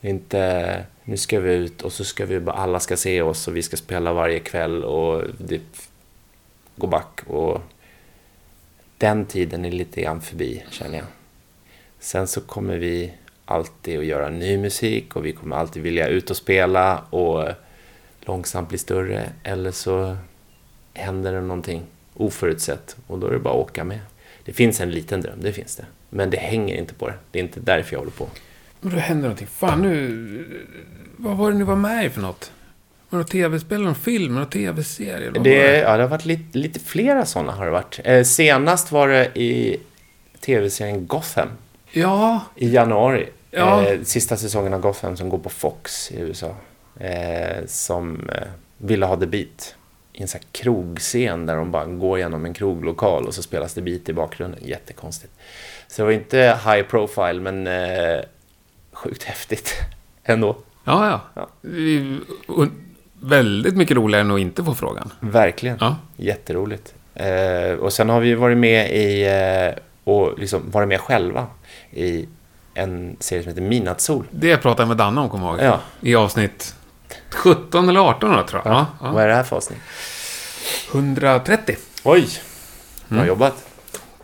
S2: Det är inte... Nu ska vi ut och så ska vi bara... Alla ska se oss och vi ska spela varje kväll och det går back och den tiden är lite grann förbi, känner jag. Sen så kommer vi alltid att göra ny musik och vi kommer alltid vilja ut och spela och långsamt bli större. Eller så händer det någonting oförutsett och då är det bara att åka med. Det finns en liten dröm, det finns det. Men det hänger inte på det. Det är inte därför jag håller på.
S4: Men då händer någonting. Fan nu... Vad var det ni var med i för något? Var det något tv-spel, någon film, någon tv-serie? Vad var
S2: Det, ja, det har varit lite, lite flera sådana har det varit. Eh, senast var det i tv-serien Gotham
S4: Ja,
S2: I januari.
S4: Ja.
S2: Eh, sista säsongen av Gotham som går på Fox i USA. Eh, som eh, ville ha The Beat i en sån här krogscen där de bara går genom en kroglokal och så spelas det beat i bakgrunden. Jättekonstigt. Så det var inte high profile, men eh, sjukt häftigt ändå.
S4: Ja, ja.
S2: Ja.
S4: Det är och väldigt mycket roligare än att inte få frågan.
S2: Verkligen.
S4: Ja.
S2: Jätteroligt. Eh, och sen har vi ju varit med i eh, och liksom varit med själva i en serie som heter Midnattssol.
S4: Det pratade jag med Danne om, kommer jag ihåg.
S2: Ja.
S4: I avsnitt 17 eller 18, då, tror jag. Ja. Ja.
S2: Vad är det här för avsnitt?
S4: 130
S2: Oj! Bra jobbat.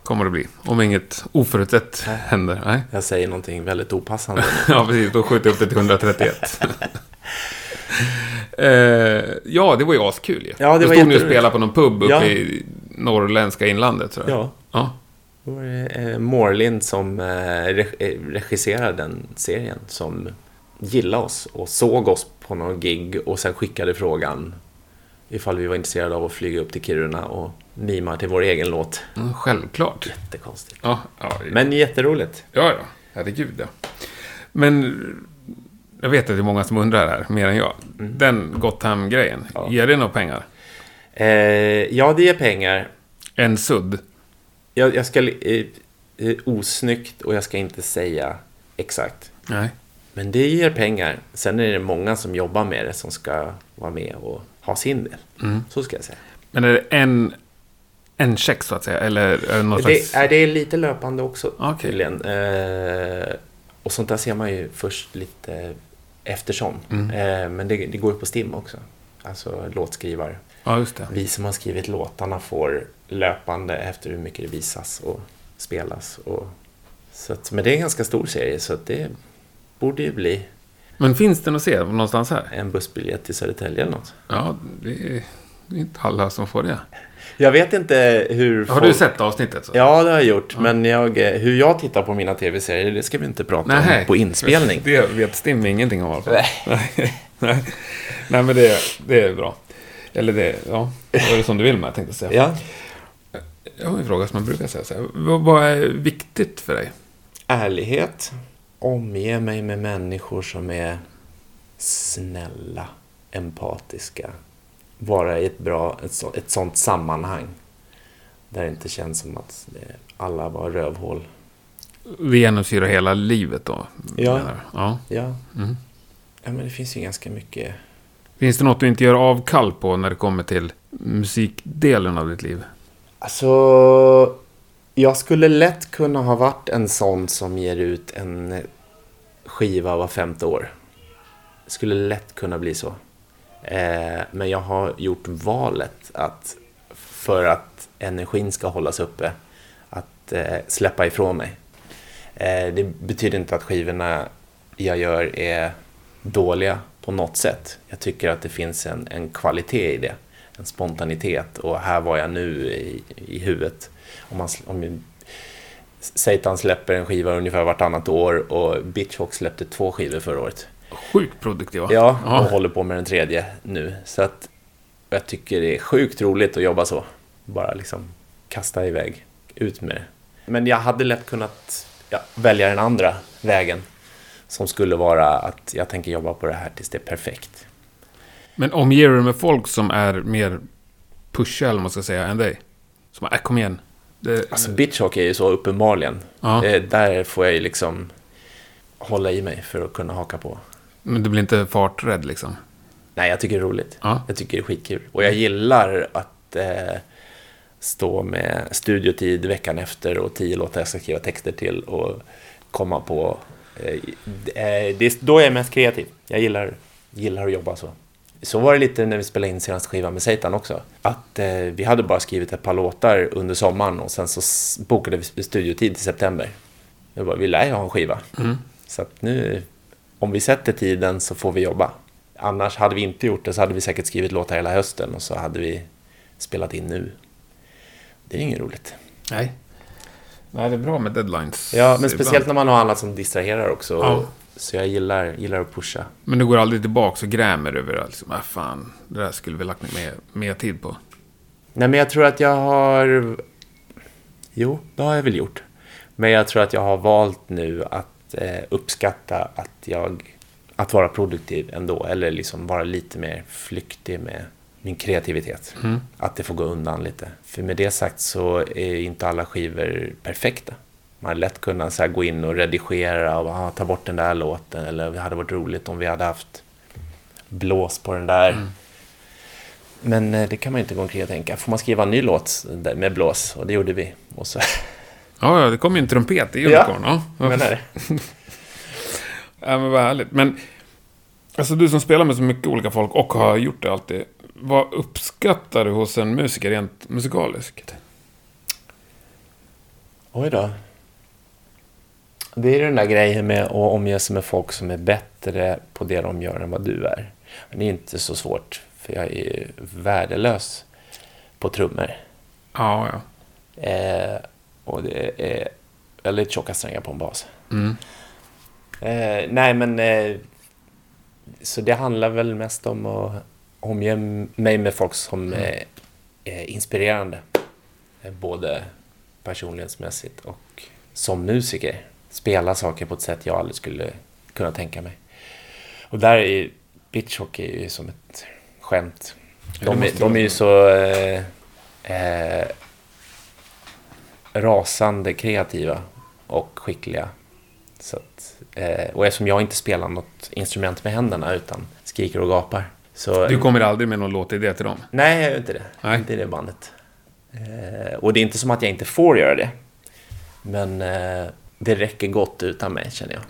S4: kommer det bli, om inget oförutsett händer. Nej.
S2: Jag säger någonting väldigt opassande.
S4: Ja, precis. Då skjuter jag upp det till 131. eh, ja, det var ju askul ju.
S2: Ja, det
S4: Då stod ni
S2: var
S4: och
S2: jätteroligt.
S4: spelade på någon pub uppe
S2: Ja.
S4: i norrländska inlandet, tror jag.
S2: ja.
S4: Ja.
S2: Då var det eh, Morlind som eh, reg- eh, regisserade den serien som gillade oss och såg oss på någon gig och sen skickade frågan ifall vi var intresserade av att flyga upp till Kiruna och mima till vår egen låt.
S4: Mm, självklart.
S2: Jättekonstigt.
S4: Ja, ja,
S2: Men jätteroligt.
S4: ja, ja. Herregud, ja. Men jag vet att det är många som undrar här, mer än jag.
S2: Mm.
S4: Den Gotham-grejen, ger det några pengar?
S2: Eh, ja, det ger pengar.
S4: En sudd?
S2: Jag, jag ska... Eh, eh, osnyggt och jag ska inte säga exakt.
S4: Nej.
S2: Men det ger pengar. Sen är det många som jobbar med det som ska vara med och ha sin del.
S4: Mm.
S2: Så ska jag säga.
S4: Men är det en, en check, så att säga? Eller är det någon slags...
S2: Det är, det är lite löpande också
S4: Okej.
S2: tydligen. Eh, och sånt där ser man ju först lite eftersom.
S4: Mm.
S2: Eh, men det, det går ju på STIM också. Alltså låtskrivare.
S4: Ja, just det.
S2: Vi som har skrivit låtarna får löpande efter hur mycket det visas och spelas. Och, så att, men det är en ganska stor serie så att det borde ju bli
S4: Men finns den att se någonstans här?
S2: en bussbiljett till Södertälje eller något.
S4: Ja, det är det är inte alla som får det.
S2: Jag vet inte hur
S4: Har du sett avsnittet? Så?
S2: Ja, det har jag gjort. Men jag, eh, hur jag tittar på mina tv-serier, det ska vi inte prata
S4: Nej.
S2: om på inspelning.
S4: Det vet Stim ingenting om i alla fall. Nej. Nej. Nej, men det, det är bra. Eller det, ja. Vad är det som du vill med, tänkte jag säga.
S2: Ja.
S4: Jag har en fråga som man brukar säga så här. Vad, vad är viktigt för dig?
S2: Ärlighet. Omge mig med människor som är snälla, empatiska. Vara i ett bra, ett, så, ett sånt sammanhang. Där det inte känns som att det, alla var rövhål.
S4: Det genomsyrar hela livet då?
S2: Ja.
S4: menar du? ja. Mm.
S2: Ja. ja, men det finns ju ganska mycket.
S4: Finns det något du inte gör avkall på när det kommer till musikdelen av ditt liv?
S2: Alltså, jag skulle lätt kunna ha varit en sån som ger ut en skiva var femte år. Skulle lätt kunna bli så. Eh, men jag har gjort valet att för att energin ska hållas uppe, att eh, släppa ifrån mig. Eh, det betyder inte att skivorna jag gör är dåliga på något sätt. Jag tycker att det finns en, en kvalitet i det, en spontanitet och här var jag nu i, i huvudet. Om man, sl- om, Satan släpper en skiva ungefär vartannat år och Bitchfox släppte två skivor förra året.
S4: Sjukt produktiva.
S2: Ja, och
S4: ja.
S2: håller på med den tredje nu. Så att jag tycker det är sjukt roligt att jobba så. Bara liksom kasta iväg, ut med det. Men jag hade lätt kunnat ja, välja den andra vägen. Som skulle vara att jag tänker jobba på det här tills det är perfekt.
S4: Men omger du dig med folk som är mer pushiga, eller vad man ska säga, än dig? Som bara, äh, kom igen. Det,
S2: Alltså bitchhockey är ju så uppenbarligen.
S4: Mm. Ja.
S2: Eh, där får jag ju liksom hålla i mig för att kunna haka på.
S4: Men du blir inte farträdd liksom?
S2: Nej, jag tycker det är roligt.
S4: Ja.
S2: Jag tycker det är skitkul. Och jag gillar att eh, stå med studiotid veckan efter och tio låtar jag ska skriva texter till och komma på. Eh, det är- det är, då är jag mest kreativ. Jag gillar, gillar att jobba så. Så var det lite när vi spelade in senaste skivan med Satan också. Att eh, vi hade bara skrivit ett par låtar under sommaren och sen så s- bokade vi studiotid till september. Jag bara, vi lär ju ha en skiva. Så att nu, om vi sätter tiden så får vi jobba. Annars hade vi inte gjort det så hade vi säkert skrivit låtar hela hösten och så hade vi spelat in nu. Det är ju inget roligt.
S4: Nej. Nej, det är bra med deadlines.
S2: Ja, men
S4: ibland.
S2: speciellt när man har annat som distraherar också.
S4: Ja.
S2: Så jag gillar, gillar att pusha.
S4: Men du går aldrig tillbaka och grämer över att liksom, ah, fan, det där skulle vi lagt ner mer, mer tid på.
S2: Nej, men jag tror att jag har... Jo, det har jag väl gjort. Men jag tror att jag har valt nu att eh, uppskatta att jag... Att vara produktiv ändå, eller liksom vara lite mer flyktig med min kreativitet. Att det får gå undan lite. För med det sagt så är inte alla skivor perfekta. Man hade lätt kunnat så här gå in och redigera och ah, ta bort den där låten. Eller det hade varit roligt om vi hade haft blås på den där. Men eh, det kan man ju inte gå omkring och tänka. Får man skriva en ny låt där med blås? Och det gjorde vi. Och så,
S4: Ja, ja, det kom ju en trumpet i Unicorn. Ja, ja.
S2: menar det.
S4: Ja, men vad härligt. Men, alltså du som spelar med så mycket olika folk och har gjort det alltid. Vad uppskattar du hos en musiker rent musikaliskt?
S2: Oj då. Det är den där grejen med att omge sig med folk som är bättre på det de gör än vad du är. Men det är inte så svårt, för jag är värdelös på trummor.
S4: Ja, ja.
S2: Eh, och det är väldigt tjocka strängar på en bas.
S4: Mm.
S2: Eh, nej, men... Eh, så det handlar väl mest om att omge mig med folk som eh, är inspirerande. Eh, Både personlighetsmässigt och som musiker. Spela saker på ett sätt jag aldrig skulle kunna tänka mig. Och där är ju... Bitchhockey är ju som ett skämt.
S4: det
S2: De, är-
S4: måste
S2: de
S4: jag
S2: är ju så... Eh, eh, rasande kreativa och skickliga. Så att, eh, och eftersom jag inte spelar något instrument med händerna utan skriker och gapar. Så,
S4: Du kommer aldrig med någon låtidé till dem?
S2: Nej, jag gör inte det.
S4: Nej.
S2: Inte i det bandet. Eh, och det är inte som att jag inte får göra det. Men eh, det räcker gott utan mig, känner jag.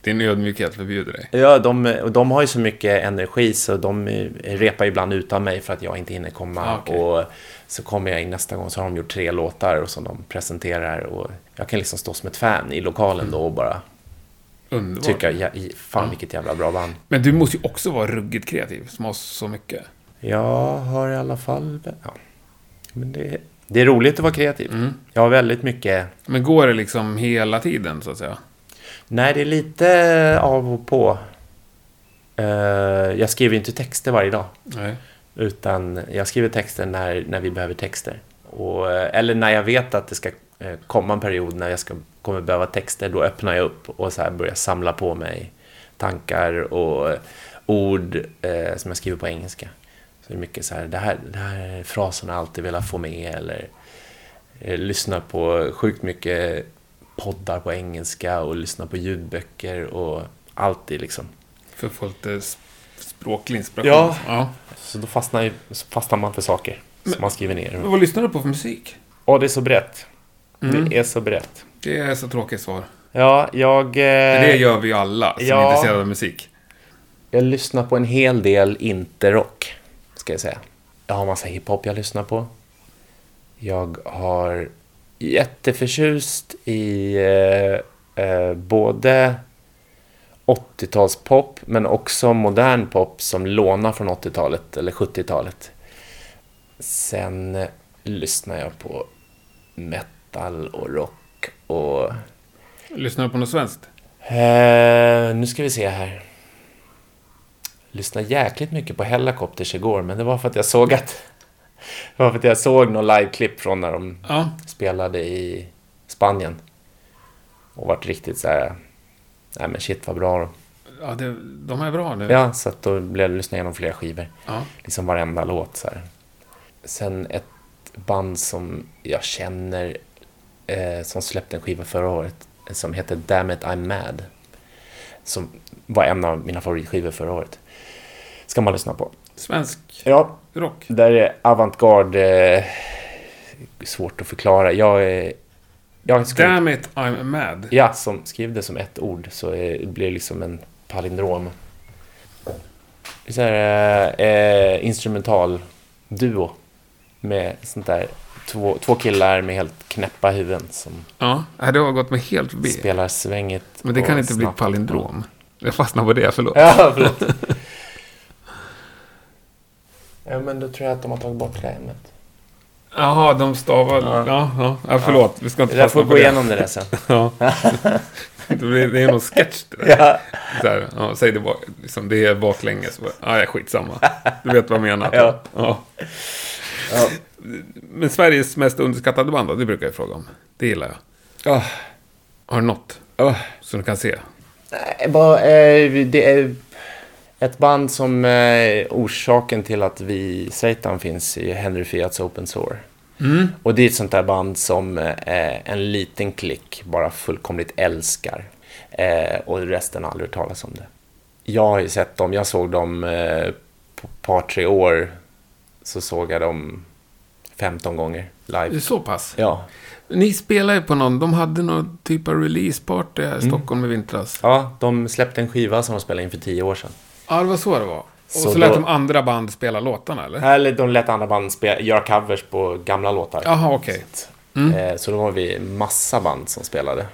S4: Din ödmjukhet förbjuder dig?
S2: Ja, de, och de har ju så mycket energi så de eh, repar ju ibland utan mig för att jag inte hinner komma.
S4: Ah, okej.
S2: Och så kommer jag in nästa gång så har de gjort tre låtar och som de presenterar. Och jag kan liksom stå som ett fan i lokalen då och bara
S4: Underbart.
S2: tycka, ja, i- fan vilket jävla bra band.
S4: Men du måste ju också vara ruggigt kreativ, som har så mycket.
S2: Jag har i alla fall... Ja. Men det, det är roligt att vara kreativ.
S4: Mm.
S2: Jag har väldigt mycket...
S4: Men går det liksom hela tiden, så att säga?
S2: Nej, det är lite av och på. Eh, jag skriver ju inte texter varje dag.
S4: Nej.
S2: Utan jag skriver texter när, när vi behöver texter. Och, eh, eller när jag vet att det ska eh, komma en period när jag ska, kommer behöva texter, då öppnar jag upp och så här börjar samla på mig tankar och eh, ord eh, som jag skriver på engelska. Så det är mycket så här, det här, det här är frasen jag alltid velat få med eller eh, lyssna på sjukt mycket poddar på engelska och lyssna på ljudböcker och alltid liksom.
S4: För att få lite s- språklig inspiration.
S2: Ja.
S4: ja.
S2: Så då fastnar, ju- så fastnar man för saker som man skriver ner.
S4: Men vad lyssnar du på för musik?
S2: Ja, det är så brett.
S4: Mm.
S2: Det är så brett.
S4: Det är så tråkigt svar.
S2: Ja, jag, eh,
S4: Det gör vi ju alla som
S2: ja.
S4: är intresserade av musik.
S2: jag lyssnar på en hel del inte-rock, ska jag säga. Jag har massa hiphop jag lyssnar på. Jag har jätteförtjust i eh, eh, både 80-talspop, men också modern pop som lånar från 80-talet eller 70-talet. Sen eh, lyssnar jag på metal och rock och
S4: Lyssnar du på något svenskt?
S2: Eh, nu ska vi se här. Lyssnade jäkligt mycket på Hellacopters igår, men det var för att jag såg att... Det var för att jag såg något liveklipp från när de
S4: Ja.
S2: spelade i Spanien. Och vart riktigt så här... Nej men shit vad bra de.
S4: Ja, det, de är bra nu.
S2: Ja, så att då blev jag lyssna igenom flera skivor.
S4: Ja.
S2: Liksom varenda låt så här. Sen ett band som jag känner eh, som släppte en skiva förra året som heter Damn It I'm Mad. Som var en av mina favoritskivor förra året. Ska man lyssna på.
S4: Svensk
S2: Ja,
S4: rock.
S2: där är avantgarde eh, svårt att förklara. Jag är... Jag skulle-
S4: Damn it, I'm mad.
S2: Ja, som, skriv det som ett ord så eh, blir det liksom en palindrom. Så här, eh, eh, instrumental duo med sånt där två, två killar med helt knäppa huvuden som
S4: Ja, Nej, det har gått mig helt förbi.
S2: spelar svänget.
S4: Men det kan
S2: och
S4: inte bli ett
S2: snabbt.
S4: palindrom. Jag fastnar på det, förlåt.
S2: Ja, förlåt. ja, men då tror jag att de har tagit bort det ämnet.
S4: Jaha, de stavar... Ja, ja. ja förlåt. Vi ska inte
S2: Jag
S4: fastna
S2: får
S4: på
S2: gå
S4: det.
S2: igenom det där sen.
S4: Ja. det blir- det är någon sketch det där.
S2: ja,
S4: Så här, ja, säg det, bak, liksom, det är baklänges. Ja, ja, skitsamma. Du vet vad jag menar.
S2: Ja.
S4: Ja. Men Sveriges mest underskattade band då? Det brukar jag fråga om. Det gillar jag. Ah,
S2: Ja.
S4: Har du något? Som du kan se?
S2: Nej, bara, eh, det är Ett band som eh, orsaken till att vi, Satan finns, är Henry Fiats Open Sore. Och det är ett sånt där band som eh, en liten klick bara fullkomligt älskar. Eh, och resten har aldrig hört talas om det. Jag har ju sett dem, jag såg dem eh, på ett par, tre år. Så såg jag dem 15 gånger
S4: Det
S2: live.
S4: är så pass.
S2: Ja,
S4: Ni spelar ju på någon, de hade någon typ av releaseparty här i
S2: Mm.
S4: Stockholm i vintras.
S2: ja de släppte en skiva som de spelade in för 10 år sedan.
S4: Ja, det var så det var. Och så,
S2: Så
S4: lät
S2: då-
S4: de andra band spela låtarna, eller?
S2: Eller de lät andra band spela, göra covers på gamla låtar.
S4: Jaha, okej.
S2: Eh, Så då var vi massa band som spelade.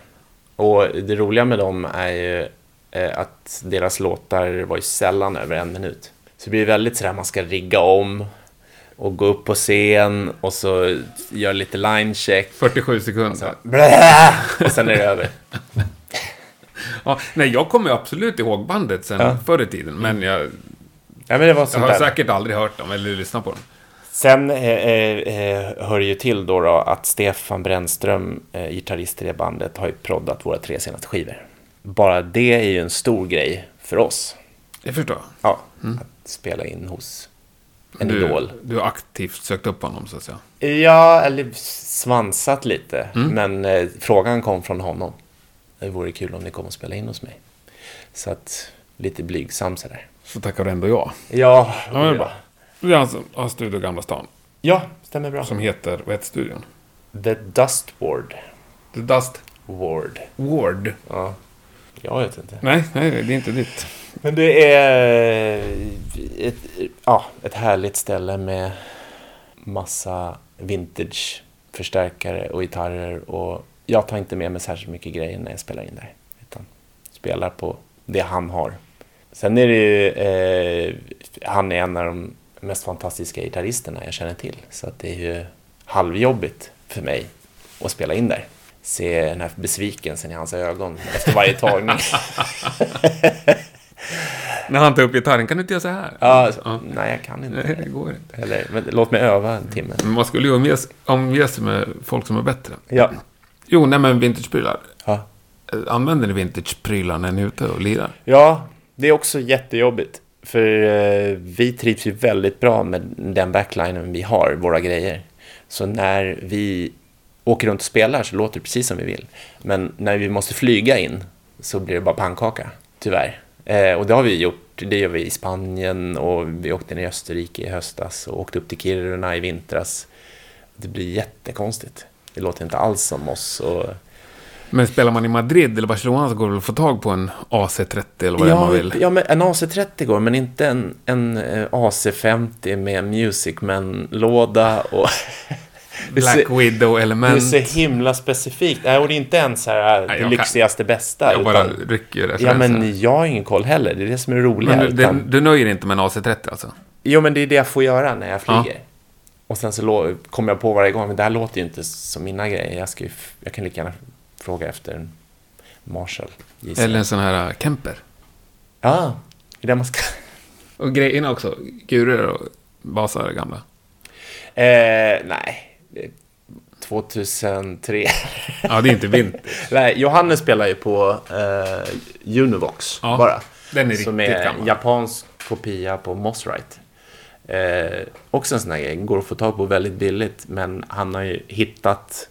S2: Och det roliga med dem är ju eh, att deras låtar var ju sällan över en minut. Så det blir väldigt sådär, man ska rigga om och gå upp på scen och så göra lite linecheck.
S4: 47
S2: Alltså,
S4: sekunder.
S2: Blä! Och sen är det över.
S4: Ja, nej, jag kommer ju absolut ihåg bandet sen förr i tiden, men jag,
S2: Ja, men det var
S4: jag
S2: sånt
S4: har
S2: Mm. där.
S4: säkert aldrig hört dem eller lyssnat på dem.
S2: Sen eh, eh, eh, hör det ju till då, då att Stefan Brännström, eh, gitarrist i det bandet, har ju proddat våra tre senaste skivor. Bara det är ju en stor grej för oss.
S4: Jag förstår.
S2: Ja,
S4: Mm.
S2: att spela in hos en
S4: du,
S2: idol.
S4: Du har aktivt sökt upp honom, så att säga.
S2: Ja, eller svansat lite.
S4: Mm.
S2: Men eh, frågan kom från honom. Det vore kul om ni kom och spelade in hos mig. Så att, lite blygsam sådär.
S4: Så tackar ändå jag.
S2: Ja,
S4: Ja, men det är bra. Du är han som har Studio Gamla stan,
S2: ja, stämmer bra.
S4: som heter, vad heter studion?
S2: The Dust Ward.
S4: The Dust
S2: Ward.
S4: Ward.
S2: Ja. Jag vet inte.
S4: Nej, nej, det är inte ditt.
S2: Men det är eh, ett, ja, ett härligt ställe med massa vintage-förstärkare och gitarrer. Och jag tar inte med mig särskilt mycket grejer när jag spelar in där. Utan spelar på det han har. Sen är det ju, eh, han är en av de mest fantastiska gitarristerna jag känner till. Så att det är ju halvjobbigt för mig att spela in där. Se den här besvikelsen i hans ögon efter varje tagning.
S4: När han tar upp gitarren, kan du inte göra så här?
S2: Ja, Nej, jag kan
S4: Nej, det
S2: inte.
S4: går inte.
S2: Eller, men låt mig öva en timme.
S4: Men man skulle ju omges, omge sig med folk som är bättre.
S2: Ja.
S4: Jo, nej men vintageprylar.
S2: Ja.
S4: Eh, Använder ni vintageprylar när ni är ute och lirar?
S2: ja, det är också jättejobbigt. För eh, vi trivs ju väldigt bra med den backlinen vi har, våra grejer. Så när vi åker runt och spelar så låter det precis som vi vill. Men när vi måste flyga in så blir det bara pannkaka, tyvärr. Eh, och det har vi gjort. Det gör vi i Spanien och vi åkte ner i Österrike i höstas och åkte upp till Kiruna i vintras. Det blir jättekonstigt. Det låter inte alls som oss. Och
S4: Men spelar man i Madrid eller Barcelona så går det väl att få tag på en AC30 eller vad det är man vill.
S2: ja, men en AC30 går, men inte en, en eh, AC50 med Musicman-låda och... Det är
S4: Black
S2: så- Det är
S4: Widow-element.
S2: så himla specifikt. Nej, och det är inte ens så här eh,
S4: Nej,
S2: det
S4: jag
S2: lyxigaste bästa.
S4: Jag bara
S2: utan,
S4: rycker ju
S2: ja,
S4: referenser.
S2: men jag har ingen koll heller. Det är det som är roligt.
S4: Men du,
S2: utan,
S4: du, du nöjer dig inte med en AC30 alltså?
S2: Jo, men det är det jag får göra när jag
S4: Ja.
S2: flyger. Och sen så lå- kommer jag på varje gång, men det här låter ju inte som mina grejer. Jag, ska ju, f- jag kan lika gärna fråga efter en Marshall. gissar jag.
S4: Eller en sån här äh, Kemper?
S2: Ja, det är det man ska...
S4: Och grejerna också. Gurer och basar gamla.
S2: Eh, nej. Eh, 2003.
S4: Ja, det är inte vinter.
S2: nej, Johannes spelar ju på eh, Univox
S4: Ja,
S2: bara.
S4: den är
S2: Som
S4: riktigt
S2: är
S4: gammal.
S2: en japansk kopia på Mossrite. Eh, också en sån här grej. Går att få tag på väldigt billigt. Men han har ju hittat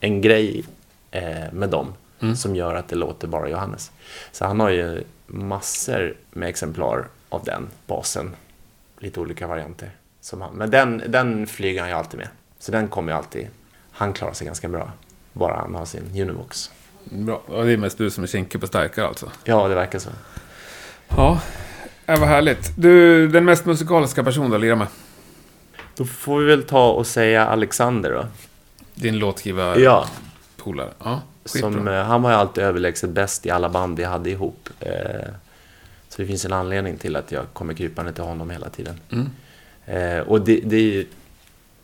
S2: en grej eh, med dem.
S4: Mm.
S2: Som gör att det låter bara Johannes. Så han har ju massor med exemplar av den basen. Lite olika varianter. Som han. Men den, den flyger han ju alltid med. Så den kommer ju alltid. Han klarar sig ganska bra. Bara han har sin Unimox.
S4: Bra. Och det är mest du som är kinkig på starkare alltså?
S2: Ja, det verkar så.
S4: Ja. Äh, vad härligt. Du, den mest musikaliska person du har lirat med?
S2: Då får vi väl ta och säga Alexander då.
S4: Din låtskriva
S2: Ja,
S4: polare. Ja, skitbra.
S2: som, eh, han var ju alltid överlägset bäst i alla band vi hade ihop. Eh, så det finns en anledning till att jag kommer krypande till honom hela tiden. Eh, och det, det är ju,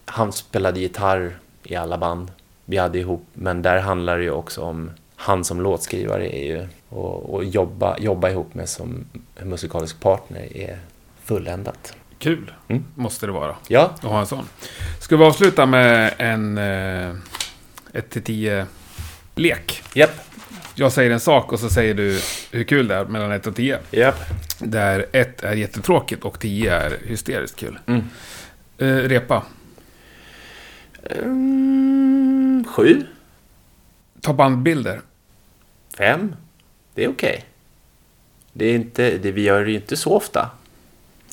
S2: han spelade gitarr i alla band vi hade ihop, men där handlar det ju också om han som låtskrivare är ju, och, och jobba, jobba ihop med som musikalisk partner är fulländat.
S4: Kul
S2: Mm.
S4: måste det vara
S2: Ja,
S4: att ha en sån. Ska vi avsluta eh, med en 1-10-lek?
S2: japp.
S4: jag säger en sak och så säger du hur kul det är mellan 1 och 10.
S2: Japp.
S4: Där 1 är jättetråkigt och 10 är hysteriskt kul. Eh, repa.
S2: Mm, sju?
S4: Ta bandbilder.
S2: Fem? Det är okej. Det är inte, det, vi gör det ju inte så ofta.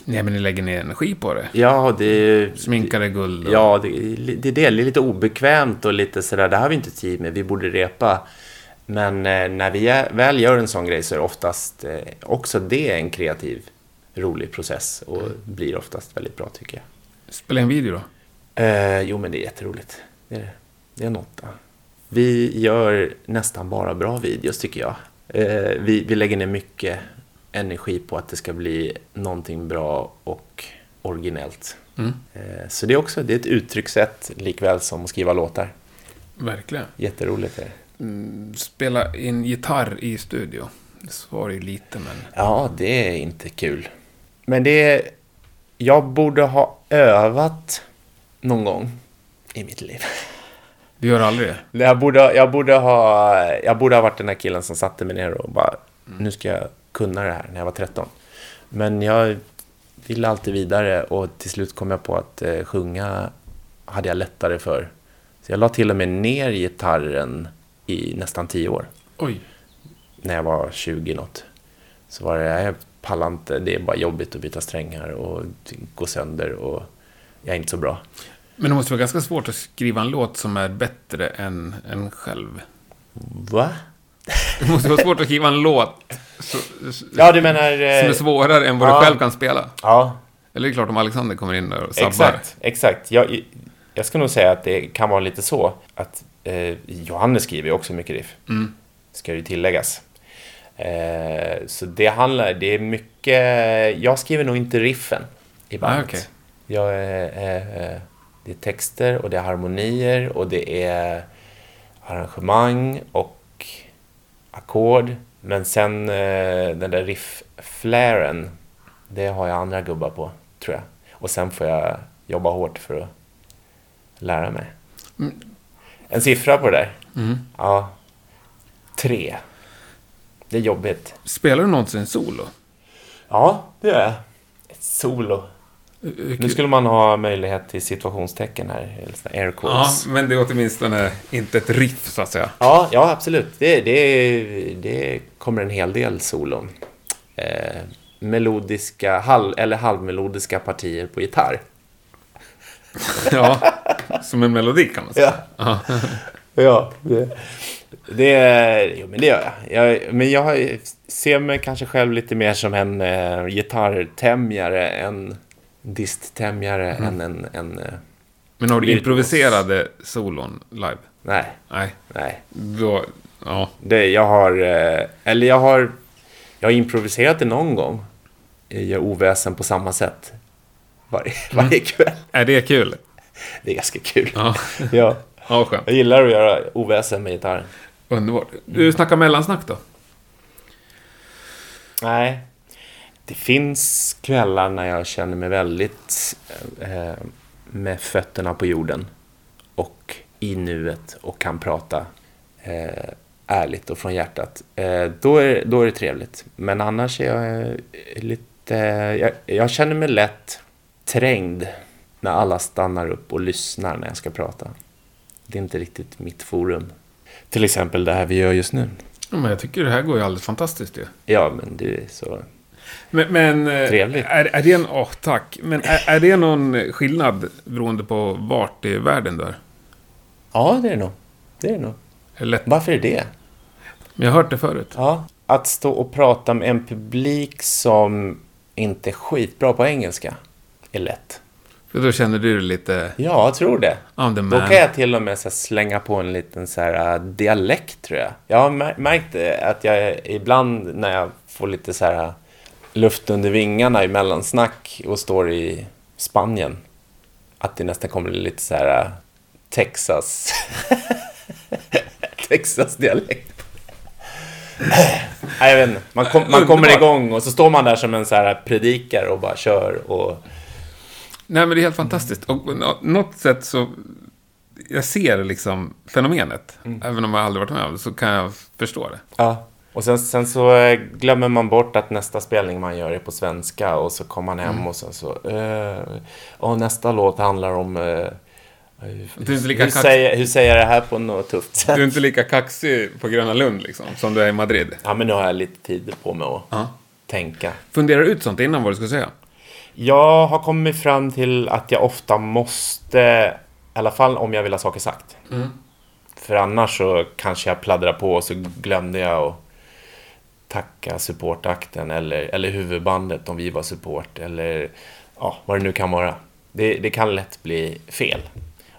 S4: Nej, men ni lägger ner energi på det.
S2: Ja, det är...
S4: Sminkar är guld. och-
S2: Ja, det, det är det. Det är lite obekvämt och lite sådär, det här har vi inte tid med, vi borde repa. Men eh, när vi är, väl gör en sån grej så är det oftast eh, också det en kreativ, rolig process och blir oftast väldigt bra tycker jag.
S4: Spela en video då.
S2: Eh, jo, men det är jätteroligt. Det är, det. det är en åtta. Vi gör nästan bara bra videos tycker jag. Eh, vi, vi lägger ner mycket energi på att det ska bli någonting bra och originellt. Eh, så det är också det är ett uttryckssätt likväl som att skriva låtar.
S4: Verkligen.
S2: Jätteroligt är det.
S4: Spela in gitarr i studio. Svar är lite, men...
S2: Ja, det är inte kul. Men det är... Jag borde ha övat någon gång i mitt liv.
S4: Du gör aldrig det.
S2: Nej, Jag borde, jag, borde ha, jag borde ha varit den här killen som satte mig ner och bara, nu ska jag kunna det här när jag var 13. Men jag ville alltid vidare och till slut kom jag på att eh, sjunga hade jag lättare för. Så jag la till och med ner gitarren i nästan 10 år,
S4: Oj.
S2: när jag var 20 något. Så var det, jag pallar inte, det är bara jobbigt att byta strängar och gå sönder och jag är inte så bra.
S4: Men det måste vara ganska svårt att skriva en låt som är bättre än en själv.
S2: Va?
S4: Det måste vara svårt att skriva en låt så, som
S2: Ja, du menar... eh,
S4: är svårare än vad
S2: ja.
S4: du själv kan spela.
S2: Ja,
S4: Eller det är klart om Alexander kommer in där och sabbar.
S2: Exakt, exakt. Jag, jag skulle nog säga att det kan vara lite så att eh, Johannes skriver ju också mycket riff.
S4: Mm.
S2: Ska ju tilläggas. Eh, så det handlar, det är mycket, jag skriver nog inte riffen i bandet.
S4: Ah, okej.
S2: jag, eh, eh, det är texter och det är harmonier och det är arrangemang och ackord. Men sen eh, den där riff-flären, det har jag andra gubbar på, tror jag. Och sen får jag jobba hårt för att lära mig.
S4: Mm.
S2: En siffra på det där? Ja. Tre. Det är jobbigt.
S4: Spelar du någonsin solo?
S2: Ja, det gör jag. Ett solo.
S4: Hur
S2: Nu
S4: kul?
S2: skulle man ha möjlighet till situationstecken här, eller såna air
S4: Ja,
S2: quotes.
S4: men det är åtminstone inte ett riff så att säga.
S2: Ja, ja absolut. Det, det, det kommer en hel del solon. Eh, melodiska, halv, eller halvmelodiska partier på gitarr.
S4: Ja, som en melodi kan man säga.
S2: Ja. ja det. Det, jo, men det gör jag. jag. Men jag har- ser mig kanske själv lite mer som en eh, gitarrtämjare, en disttämjare än en... en eh,
S4: Men har du
S2: Lyrikos.
S4: improviserade solon live?
S2: nej,
S4: Nej.
S2: nej.
S4: Då, ja.
S2: Det, jag har... eh, Eller jag har... Jag har improviserat det någon gång. Jag gör oväsen på samma sätt. Varje, varje kväll.
S4: Är det kul?
S2: Det är ganska kul.
S4: Ja.
S2: Ja.
S4: Ja, skönt.
S2: Jag gillar att göra oväsen med gitarren.
S4: Underbart. Du snackar mellansnack då?
S2: Nej. Det finns kvällar när jag känner mig väldigt eh, med fötterna på jorden och i nuet och kan prata eh, ärligt och från hjärtat. Eh, då, är, då är det trevligt. Men annars är jag eh, lite... Jag, jag känner mig lätt trängd när alla stannar upp och lyssnar när jag ska prata. Det är inte riktigt mitt forum. Till exempel det här vi gör just nu.
S4: Ja, men jag tycker det här går ju alldeles fantastiskt ju.
S2: Ja, men det är så...
S4: Men, men eh,
S2: Trevligt.
S4: Är, är det en... Åh, tack. Men är, är det någon skillnad beroende på vart i världen du är?
S2: Ja, det är det nog. Det är det nog.
S4: Är lätt.
S2: Varför är det?
S4: Men jag har hört det förut.
S2: Ja. Att stå och prata med en publik som inte är skitbra på engelska är lätt.
S4: För då känner du dig lite...
S2: Ja, jag tror det.
S4: I'm the
S2: Då
S4: man.
S2: kan jag till och med så här slänga på en liten så här, äh, dialekt, tror jag. Jag har mär- märkt eh, att jag ibland när jag får lite så här, äh, luft under vingarna i mellansnack och står i Spanien, att det nästan kommer lite så här äh, Texas... Texas-dialekt. Nej, Äh, jag vet inte. Man, kom, man kommer
S4: Underbart.
S2: igång och så står man där som en så här predikare och bara kör och...
S4: Nej, men det är helt fantastiskt. Och på nå- något sätt så jag ser liksom fenomenet. Även om jag aldrig varit med om det så kan jag förstå det.
S2: Ja. Och sen, sen så eh, glömmer man bort att nästa spelning man gör är på svenska och så kommer man hem
S4: Mm.
S2: och sen så... eh, och nästa låt handlar om... eh,
S4: Du är inte lika
S2: hur,
S4: kaxig.
S2: säger, hur säger jag det här på något tufft sätt?
S4: Du är inte lika kaxig på Gröna Lund liksom, som du är i Madrid.
S2: Ja, men nu har jag lite tid på mig att
S4: Ja.
S2: tänka.
S4: Funderar ut sånt innan vad du ska säga.
S2: Jag har kommit fram till att jag ofta måste, i alla fall om jag vill ha saker sagt. För annars så kanske jag pladdrar på och så glömde jag att tacka supportakten eller, eller huvudbandet om vi var support eller ja, vad det nu kan vara. Det, det kan lätt bli fel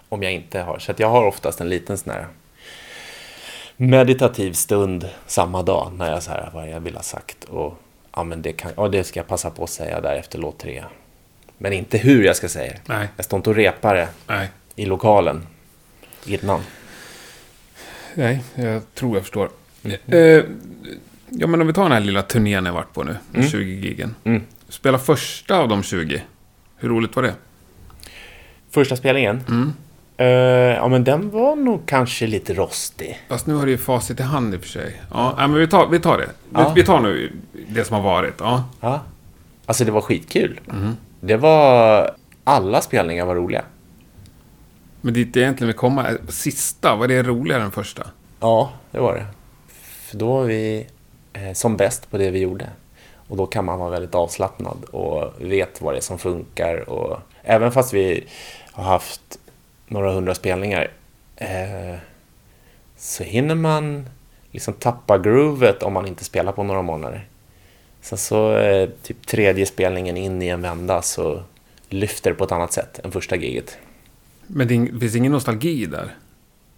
S2: om jag inte har. Så att jag har oftast en liten sån här meditativ stund samma dag när jag så här, vad jag vill ha sagt och ja, men det, kan, ja, det ska jag passa på att säga där efter låt tre. Men inte hur jag ska säga det.
S4: Nej.
S2: Jag står inte och repar det
S4: Nej.
S2: i lokalen innan.
S4: Nej, jag tror jag förstår.
S2: Mm.
S4: Eh, ja, men om vi tar den här lilla turnén jag varit på nu, de
S2: Mm.
S4: 20 gigen. Spela första av de 20. Hur roligt var det?
S2: Första spelningen? Eh, ja, men den var nog kanske lite rostig.
S4: Fast nu har du ju facit i hand i och för sig. Ja, nej, men vi tar, vi tar det. Vi, vi tar nu det som har varit. Ja.
S2: Ja. Alltså, det var skitkul. Det var... Alla spelningar var roliga.
S4: Men dit jag egentligen vill komma, är- sista, var det roligare än första?
S2: Ja, det var det. För då var vi eh, som bäst på det vi gjorde. Och då kan man vara väldigt avslappnad och vet vad det är som funkar. Och även fast vi har haft några hundra spelningar eh, så hinner man liksom tappa groovet om man inte spelar på några månader. Sen så eh, typ tredje spelningen in i en vända så lyfter det på ett annat sätt än första giget.
S4: Men det är ing- finns ingen nostalgi där?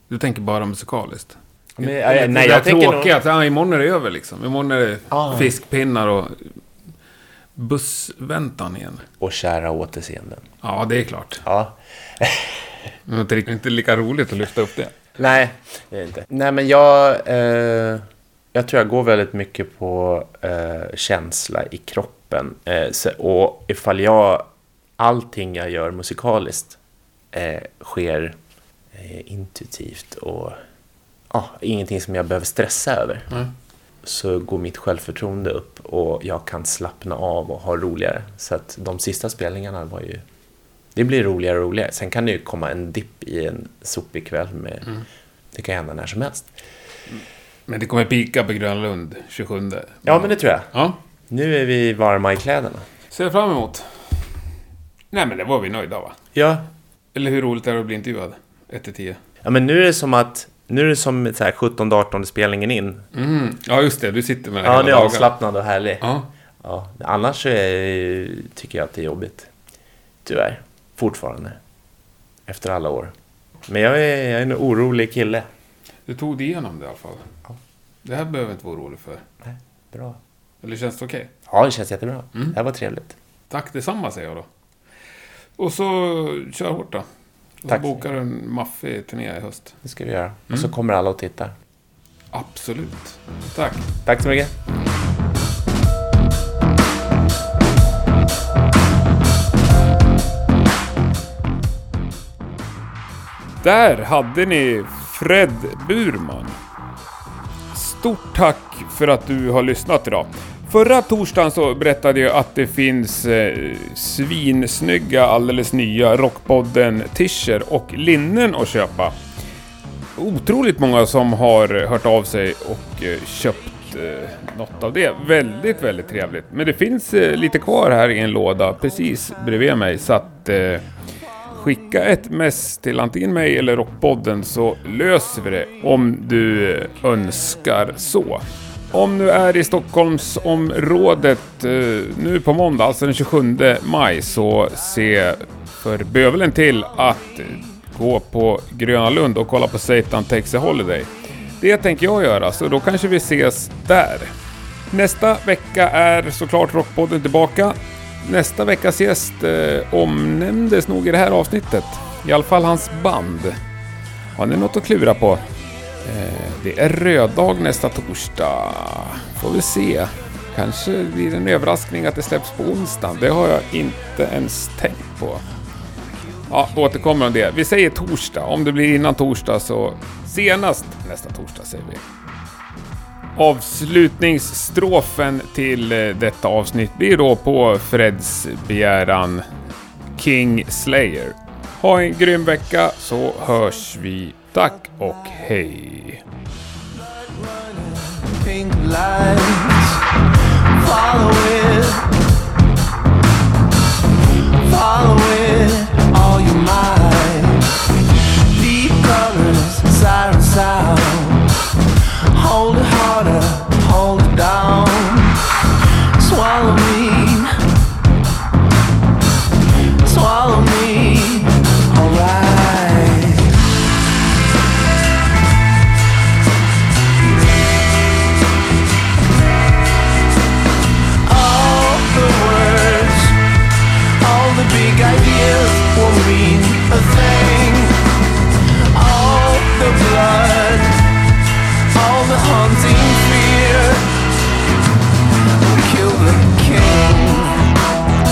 S4: Du tänker bara musikaliskt?
S2: Men, eh,
S4: Eller
S2: nej,
S4: det
S2: jag
S4: där
S2: tänker nog...
S4: tråkiga att ja, imorgon är det över liksom. Imorgon är det
S2: Ah.
S4: fiskpinnar och bussväntan igen.
S2: Och kära återseenden.
S4: Ja, det är klart.
S2: Ja,
S4: Men det är inte lika roligt att lyfta upp det.
S2: Nej, det är det inte. Nej, men jag... Eh, jag tror jag går väldigt mycket på eh, känsla i kroppen. Eh, så, och ifall jag... Allting jag gör musikaliskt eh, sker eh, intuitivt och... ja, ingenting som jag behöver stressa över. Så går mitt självförtroende upp och jag kan slappna av och ha roligare. Så att de sista spelningarna var ju det blir roligare och roligare. Sen kan det ju komma en dipp i en sopig kväll. Med,
S4: Mm.
S2: Det kan hända när som helst.
S4: Men det kommer pika på Gröna Lund 27.
S2: Ja, men det tror jag.
S4: Ja,
S2: Nu är vi varma i kläderna.
S4: ser fram emot. Nej, men det var vi nöjda va?
S2: Ja.
S4: Eller hur roligt är det att bli intervjuad? 1 till 10.
S2: ja men nu är det som att... Nu är det som så här 17-18 spelningen in.
S4: Mm. Ja, just det. Du sitter med det
S2: Ja,
S4: hela
S2: det är
S4: dagen.
S2: avslappnad och härlig.
S4: Ja.
S2: Ja. Annars så är, tycker jag att det är jobbigt. Tyvärr. Fortfarande. Efter alla år. Men jag är, jag är en orolig kille.
S4: Du tog dig igenom det i alla fall. Det här behöver jag inte vara orolig för.
S2: Nej, bra.
S4: Eller känns det okej?
S2: Ja, det känns jättebra.
S4: Mm.
S2: Det här var trevligt.
S4: Tack detsamma säger jag då. Och så kör hårt då. Och så
S2: Tack.
S4: bokar du en maffig turné i höst.
S2: Det ska vi göra. Och
S4: Mm.
S2: så kommer alla och tittar.
S4: Absolut. Tack.
S2: Tack så mycket.
S1: Där hade ni Fred Burman. Stort tack för att du har lyssnat idag. Förra torsdagen så berättade jag att det finns eh, svinsnygga, alldeles nya Rockpodden-tischer och linnen att köpa. Otroligt många som har hört av sig och eh, köpt eh, något av det. Väldigt, väldigt trevligt. Men det finns eh, lite kvar här i en låda precis bredvid mig så att eh, Skicka ett mess till antingen mig eller Rockpodden så löser vi det om du eh, önskar så. Om du är i Stockholmsområdet eh, nu på måndag, alltså den 27 maj, så se för bövelen till att eh, gå på Gröna Lund och kolla på Satan Takes a Holiday. Det tänker jag göra, så då kanske vi ses där. Nästa vecka är såklart Rockpodden tillbaka. Nästa veckas gäst eh, omnämndes nog i det här avsnittet. I alla fall hans band. Har ni något att klura på? Eh, det är röddag nästa torsdag. Får vi se. Kanske blir det en överraskning att det släpps på onsdag. Det har jag inte ens tänkt på.
S4: Ja, återkommer om det. Vi säger torsdag. Om det blir innan torsdag så senast nästa torsdag säger vi. Avslutningsstrofen till eh, detta avsnitt blir då på Freds begäran King Slayer. Ha en grym vecka så hörs vi. Tack och hej!
S3: pink lights. Follow it. Follow it all you might. Deep colors, siren sound. Hold it harder, hold it down. Swallow me. Swallow me. Alright. all the words, all the big ideas won't mean a thing. All the blood, all the haunting fear will kill the king.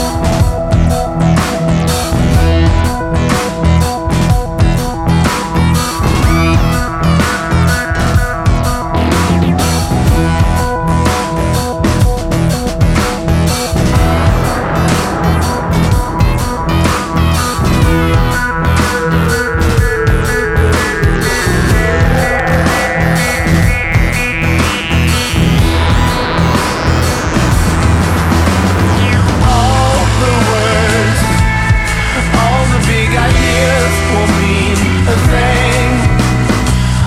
S3: All the words, all the big ideas will mean a thing.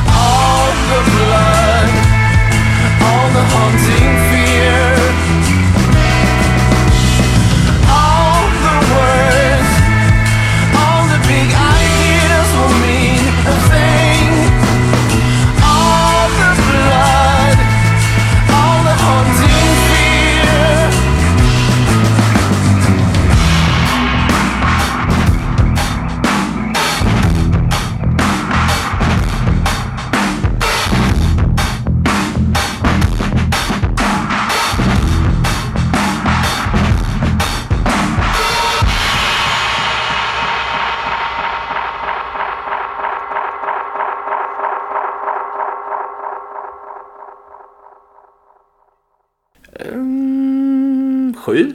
S3: All the blood, all the haunting fear. All the words, all the big ideas will mean a thing. All the blood, all the haunting fear.
S2: Sju?